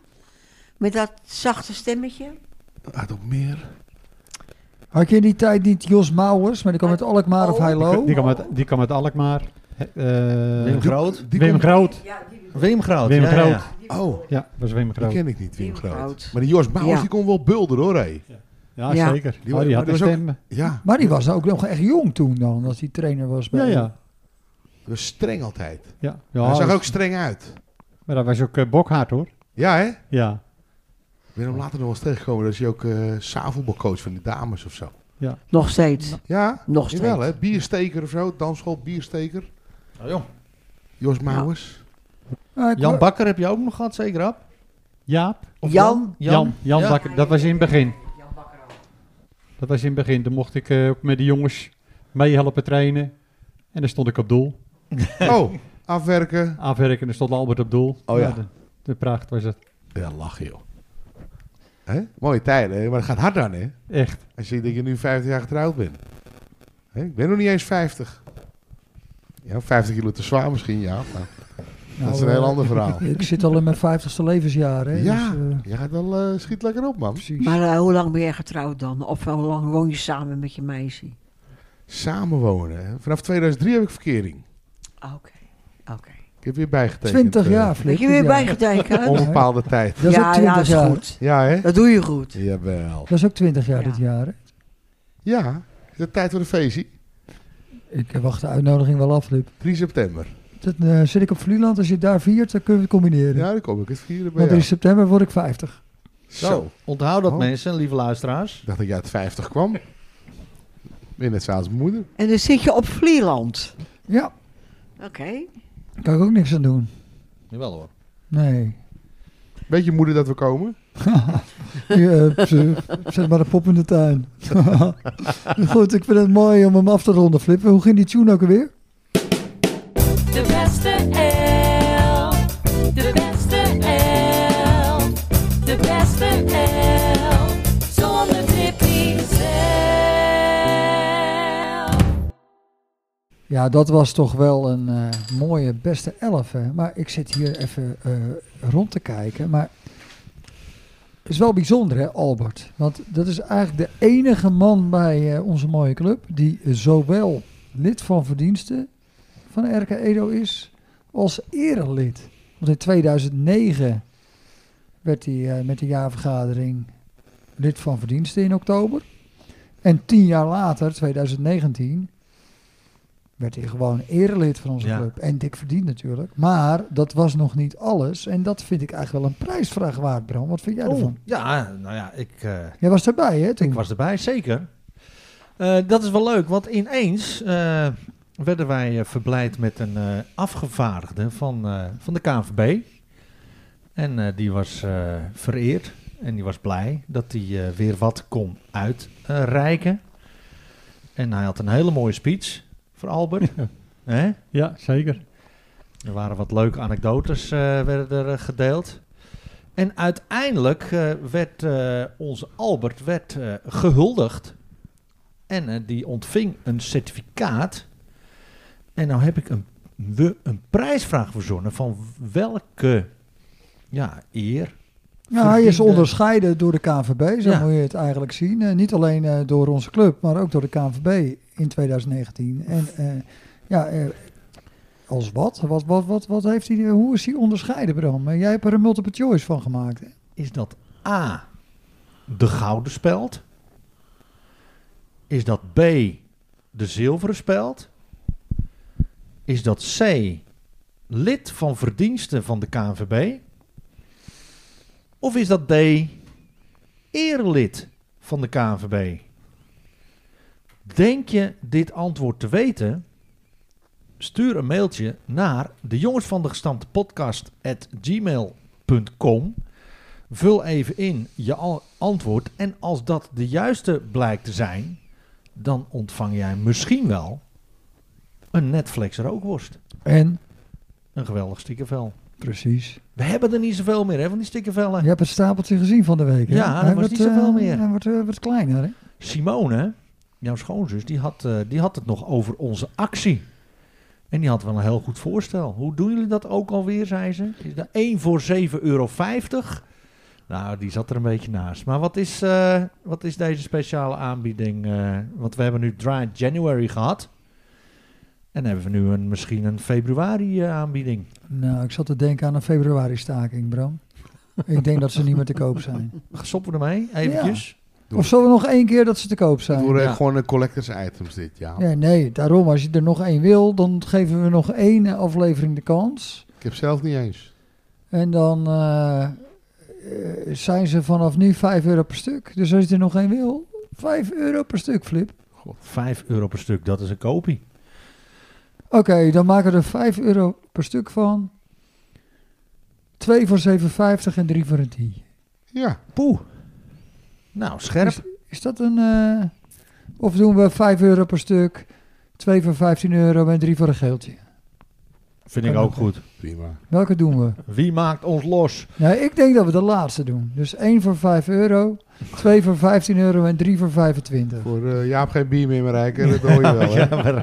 Met dat zachte stemmetje.
Uit op meer.
Had je in die tijd niet Jos Mouwers, maar die kwam uit Alkmaar of
Oh.
Heilo?
Die kwam uit, die kwam uit Alkmaar. Eh,
Wim Groot.
Die
Wim
komt-
Groot.
Ja, die
Wim Groot.
Wim
ja, ja, ja.
Groot.
Oh,
Ja, dat was Wim
die
Groot.
ken ik niet, Wim
Wim
Groot.
Groot.
Maar die Jos Bouwers,
Ja.
die kon wel bulder hoor, hé.
Ja,
Ja.
zeker.
Die
Oh,
wa-
die
maar
had
die
een
was ook-
stem.
Ja,
Maar die was ook nog echt jong toen dan, als die trainer was bij
Ja, ja.
dat was streng altijd.
ja. ja
Hij zag
dus-
ook streng uit.
Maar dat was ook eh, bokhard hoor.
Ja, hè?
Ja.
Ik ben hem later nog wel eens tegengekomen. Dat is hij ook eh zaalvoetbalcoach van de dames of zo.
Nog steeds.
Ja,
Nog steeds.
jawel hè. Biersteker of zo. Dansschool, biersteker.
Oh, joh.
Jos Mouwers.
Ah, ik
Jan
wa-
Bakker heb je ook nog gehad, zeker, Ab?
Jaap.
Of
Jan?
Jan. Jan,
Ja.
Bakker. Dat was in het begin. Dat was in het begin. Dan mocht ik eh, ook met de jongens meehelpen trainen. En dan stond ik op doel.
Oh, afwerken.
Aanwerken en dan stond Albert op doel.
Oh, ja.
de, de pracht was het.
Ja, lachen joh. Hè? Mooie tijden, hè? maar het gaat hard aan hè.
Echt.
Als je denkt dat je nu 50 jaar getrouwd bent. Hè? Ik ben nog niet eens 50. Ja, 50 kilo te zwaar misschien, ja. Maar dat is een
Nou,
heel
eh,
ander verhaal.
Ik zit al in mijn vijftigste levensjaar, hè?
ja,
dus, eh,
je gaat wel, eh, schiet lekker op man.
precies.
Maar eh, hoe lang ben jij getrouwd dan? Of eh, hoe lang woon je samen met je meisje?
Samenwonen. Hè? Vanaf 2003 heb ik verkering.
Oké, oké.
Ik heb weer bijgetekend.
20
eh,
jaar,
Ben
Flip.
je weer
ja.
bijgetekend?
Onbepaalde tijd.
Dat is ook
ja,
20
ja, is
jaar.
goed.
Ja hè?
Dat doe je goed.
Jawel.
Dat is ook 20 jaar
Ja.
dit jaar, hè?
Ja, is het tijd voor een feestje?
Ik eh, wacht de uitnodiging wel af, Flip.
3 september.
Dat, eh, zit ik op Vlieland, als je het daar viert, dan kunnen we het combineren.
Ja, dan kom ik het vieren bij
Want in
jou.
september word ik 50.
Zo.
Zo.
Onthoud dat
Oh.
mensen, lieve luisteraars.
Ik dacht dat ik uit 50 kwam. Ben net zoals mijn moeder.
En dan zit je op Vlieland.
Ja,
Oké.
daar kan ik ook niks aan doen.
Jawel hoor.
Nee.
Weet je moeder dat we komen?
Je, eh, ze- zet maar een pop in de tuin. Goed, ik vind het mooi om hem af te ronden, Flip. Hoe ging die tune ook alweer?
De beste elf. De beste elf. De beste elf. Zonder Tippy zelf.
Ja, dat was toch wel een eh, mooie beste elf. Hè? Maar ik zit hier even eh, rond te kijken. Maar het is wel bijzonder, hè, Albert? Want dat is eigenlijk de enige man bij eh, onze mooie club die zowel lid van verdiensten van RK Edo is, als erelid. Want in 2009 werd hij eh, met de jaarvergadering lid van verdiensten in oktober. En tien jaar later, 2019, werd hij gewoon erelid van onze
Ja.
club. En dik verdiend natuurlijk. Maar dat was nog niet alles. En dat vind ik eigenlijk wel een prijsvraag waard, Bram. Wat vind jij ervan?
Oh, ja, nou ja, ik, eh,
Jij was erbij, hè? Toen?
ik was erbij, zeker. Eh, dat is wel leuk, want ineens eh, werden wij eh, verblijd met een eh, afgevaardigde van, eh, van de KNVB. En eh, die was eh, vereerd en die was blij dat hij eh, weer wat kon uitreiken. en hij had een hele mooie speech voor Albert. Hè?
Ja, zeker.
Er waren wat leuke anekdotes eh, werden er eh, gedeeld. En uiteindelijk eh, werd eh, onze Albert werd, eh, gehuldigd. En eh, die ontving een certificaat. En nou heb ik een, we- een prijsvraag verzonnen van welke ja, eer.
Ja, hij is
verdiende-
onderscheiden door de KNVB, zo
Ja.
moet je het eigenlijk zien. Eh, niet alleen eh, door onze club, maar ook door de KNVB in 2019. En eh, ja, eh, als wat? Wat, wat, wat, wat heeft hij, hoe is hij onderscheiden, Bram? Eh, jij hebt er een multiple choice van gemaakt. Hè?
Is dat A, de gouden speld? Is dat B, de zilveren speld? Is dat C, lid van verdiensten van de KNVB? Of is dat D, erelid van de KNVB? Denk je dit antwoord te weten? Stuur een mailtje naar de jongens van de gestampte podcast gmail.com. Vul even in je al- antwoord en als dat de juiste blijkt te zijn, dan ontvang jij misschien wel een Netflix rookworst.
En,
Een geweldig stikkervel.
precies.
We hebben er niet zoveel meer hè, van die stikkervellen.
Je hebt het stapeltje gezien van de week. hè?
Ja, dat
Hij
was
wordt,
niet zoveel
eh,
meer.
Hij wordt eh, wat kleiner. Hè?
Simone, jouw schoonzus, die had, eh, die had het nog over onze actie. En die had wel een heel goed voorstel. Hoe doen jullie dat ook alweer, zei ze. Is dat 1 voor 7,50 euro? Nou, die zat er een beetje naast. Maar wat is, eh, wat is deze speciale aanbieding? eh, want we hebben nu Dry January gehad. En hebben we nu een, misschien een februari eh, aanbieding.
Nou, ik zat te denken aan een februari-staking, Bram. ik denk dat ze niet meer te koop zijn.
Stoppen we ermee, eventjes.
Doe.
Of zullen we nog één keer dat ze te koop
Het
zijn?
worden
Ja.
echt eh, gewoon een collectors items dit jaar.
Ja, nee, daarom. Als je er nog één wil, dan geven we nog één aflevering de kans.
Ik heb zelf niet eens.
En dan eh, eh, zijn ze vanaf nu 5 euro per stuk. Dus als je er nog één wil, 5 euro per stuk, Flip.
5 euro per stuk, dat is een kopie.
Oké, dan maken we er 5 euro per stuk van. 2 voor 7,50 en 3 voor een 10.
Ja,
Poeh. Nou, scherp.
Is dat een. eh, of doen we 5 euro per stuk, 2 voor 15 euro en 3 voor een geeltje?
Vind ik ook goed.
prima.
Welke doen we?
Wie maakt ons los?
Nou, ik denk dat we de laatste doen. Dus 1 voor 5 euro, 2 voor 15 euro en 3 voor 25.
Voor eh, Jaap geen bier meer, maar Rijker, dat hoor je wel.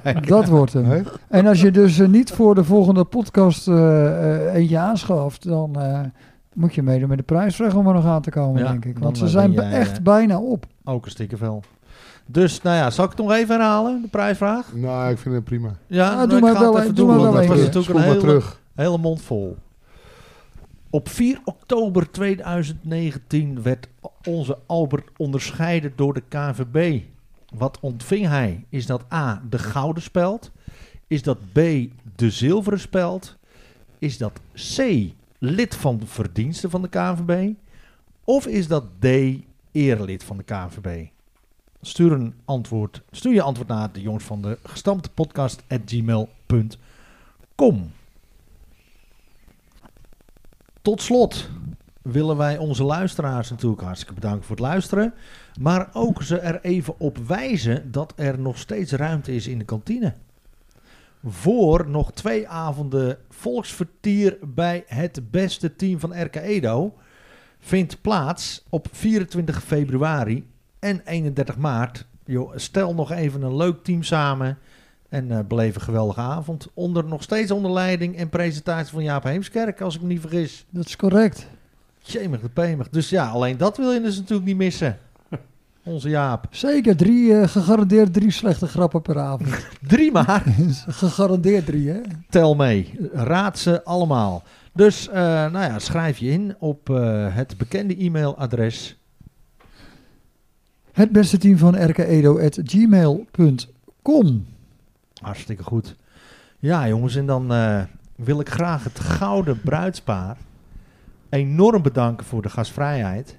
Hè?
Dat wordt hem.
Hè?
En als je dus eh, niet voor de volgende podcast eh, eh, eentje aanschaft, dan eh, moet je meedoen met de prijsvraag om er nog aan te komen,
Ja,
denk ik.
dan,
Want ze
eh,
zijn
ben
be-
jij,
echt
eh,
bijna op.
Ook een stikkervel. Dus, nou ja, zal ik het nog even herhalen, de prijsvraag?
Nou, ik vind het prima.
Ja,
Ah,
nou,
doe
ik
maar
ga
wel
het
een-
even
doe
doen,
maar
want
wel
dat was
even.
Spoel
natuurlijk een
maar
hele,
terug.
hele mond vol. Op 4 oktober 2019 werd onze Albert onderscheiden door de KVB. Wat ontving hij? Is dat A, de gouden speld? Is dat B, de zilveren speld? Is dat C, lid van de verdiensten van de KVB? Of is dat D, erelid van de KVB? Stuur een antwoord. Stuur je antwoord naar de jongens van de gestampte podcast at gmail.com. Tot slot willen wij onze luisteraars natuurlijk hartstikke bedanken voor het luisteren. Maar ook ze er even op wijzen dat er nog steeds ruimte is in de kantine. Voor nog twee avonden volksvertier bij het beste team van RK Edo vindt plaats op 24 februari en 31 maart. Yo, stel nog even een leuk team samen en eh beleef een geweldige avond. Onder, nog steeds onder leiding en presentatie van Jaap Heemskerk, als ik me niet vergis.
Dat is correct.
Jemig de pemig. Dus ja, alleen dat wil je dus natuurlijk niet missen. Onze Jaap.
Zeker drie, eh, gegarandeerd drie slechte grappen per avond.
3 maart.
gegarandeerd drie, hè?
Tel mee. Raad ze allemaal. Dus eh, nou ja, schrijf je in op eh, het bekende e-mailadres.
Het beste team van E rkedo.gmail.com.
Hartstikke goed. Ja, jongens, en dan eh, wil ik graag het gouden bruidspaar enorm bedanken voor de gastvrijheid.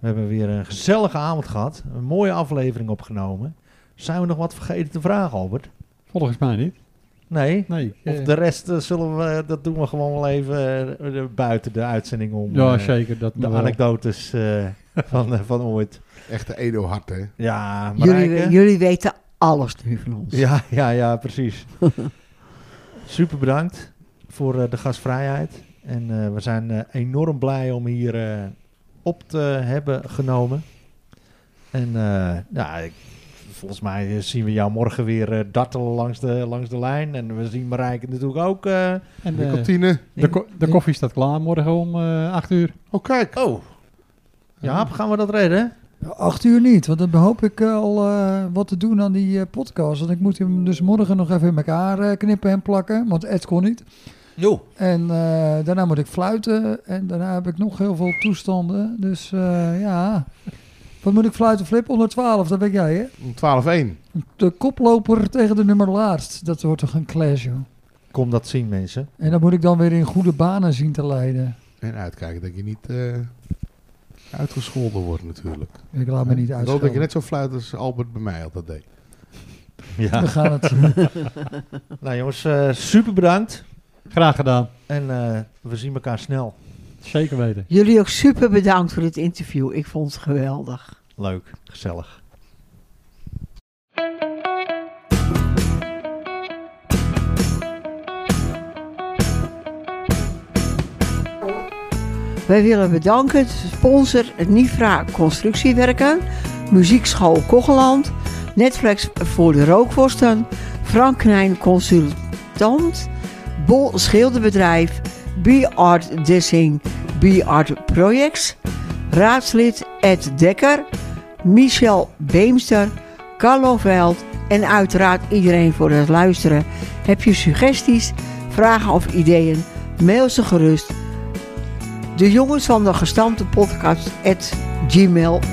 We hebben weer een gezellige avond gehad, een mooie aflevering opgenomen. Zijn we nog wat vergeten te vragen, Albert?
Volgens mij niet.
Nee?
Nee.
Of
eh,
de rest eh, zullen we, dat doen we gewoon wel even eh, buiten de uitzending om.
ja,
eh,
zeker. Dat
de
nog wel.
anekdotes eh, van, eh, van ooit.
Echte Edo-hart, hè?
Ja,
Jullie, eh,
Marijke?
jullie weten alles nu van ons.
Ja, ja, ja, precies. Super bedankt voor eh, de gastvrijheid. En eh, we zijn eh, enorm blij om hier eh, op te hebben genomen. En eh, ja, ik- volgens mij eh, zien we jou morgen weer eh, dartelen langs de, langs de lijn. En we zien Marijke natuurlijk ook. eh,
En,
De
eh,
kantine.
de, ko- de koffie staat klaar morgen om eh 8 uur.
Oh, kijk.
oh, Jaap, gaan we dat redden?
Ja, Acht uur niet, want dan hoop ik eh, al eh, wat te doen aan die eh, podcast. Want ik moet hem dus morgen nog even in elkaar eh, knippen en plakken, want Ed kon niet.
Jo.
En eh, daarna moet ik fluiten en daarna heb ik nog heel veel toestanden. Dus eh, ja, wat moet ik fluiten, Flip? Onder 12, dat ben jij hè?
Om 12-1.
De koploper tegen de nummer laatst, dat wordt toch een clash joh.
Kom dat zien, mensen.
En dat moet ik dan weer in goede banen zien te leiden.
En uitkijken dat je niet eh, uitgescholden wordt natuurlijk.
Ik laat me niet
Ik hoop dat je
uitschelden.
net zo fluit als Albert bij mij altijd deed.
Ja.
We gaan het
Nou jongens, eh, super bedankt.
Graag gedaan.
En eh, we zien elkaar snel.
Zeker weten.
Jullie ook super bedankt voor het interview. Ik vond het geweldig.
Leuk, gezellig.
Wij willen bedanken sponsor Nifra Constructiewerken, Muziekschool Kogeland, Netflix voor de Rookworsten, Frank Knijn Consultant, Bol Schilderbedrijf, B-Art Dessing, B-Art Projects, raadslid Ed Dekker, Michel Beemster, Carlo Veld en uiteraard iedereen voor het luisteren. Heb je suggesties, vragen of ideeën? Mail ze gerust de jongens van de gestampte podcast at gmail.com.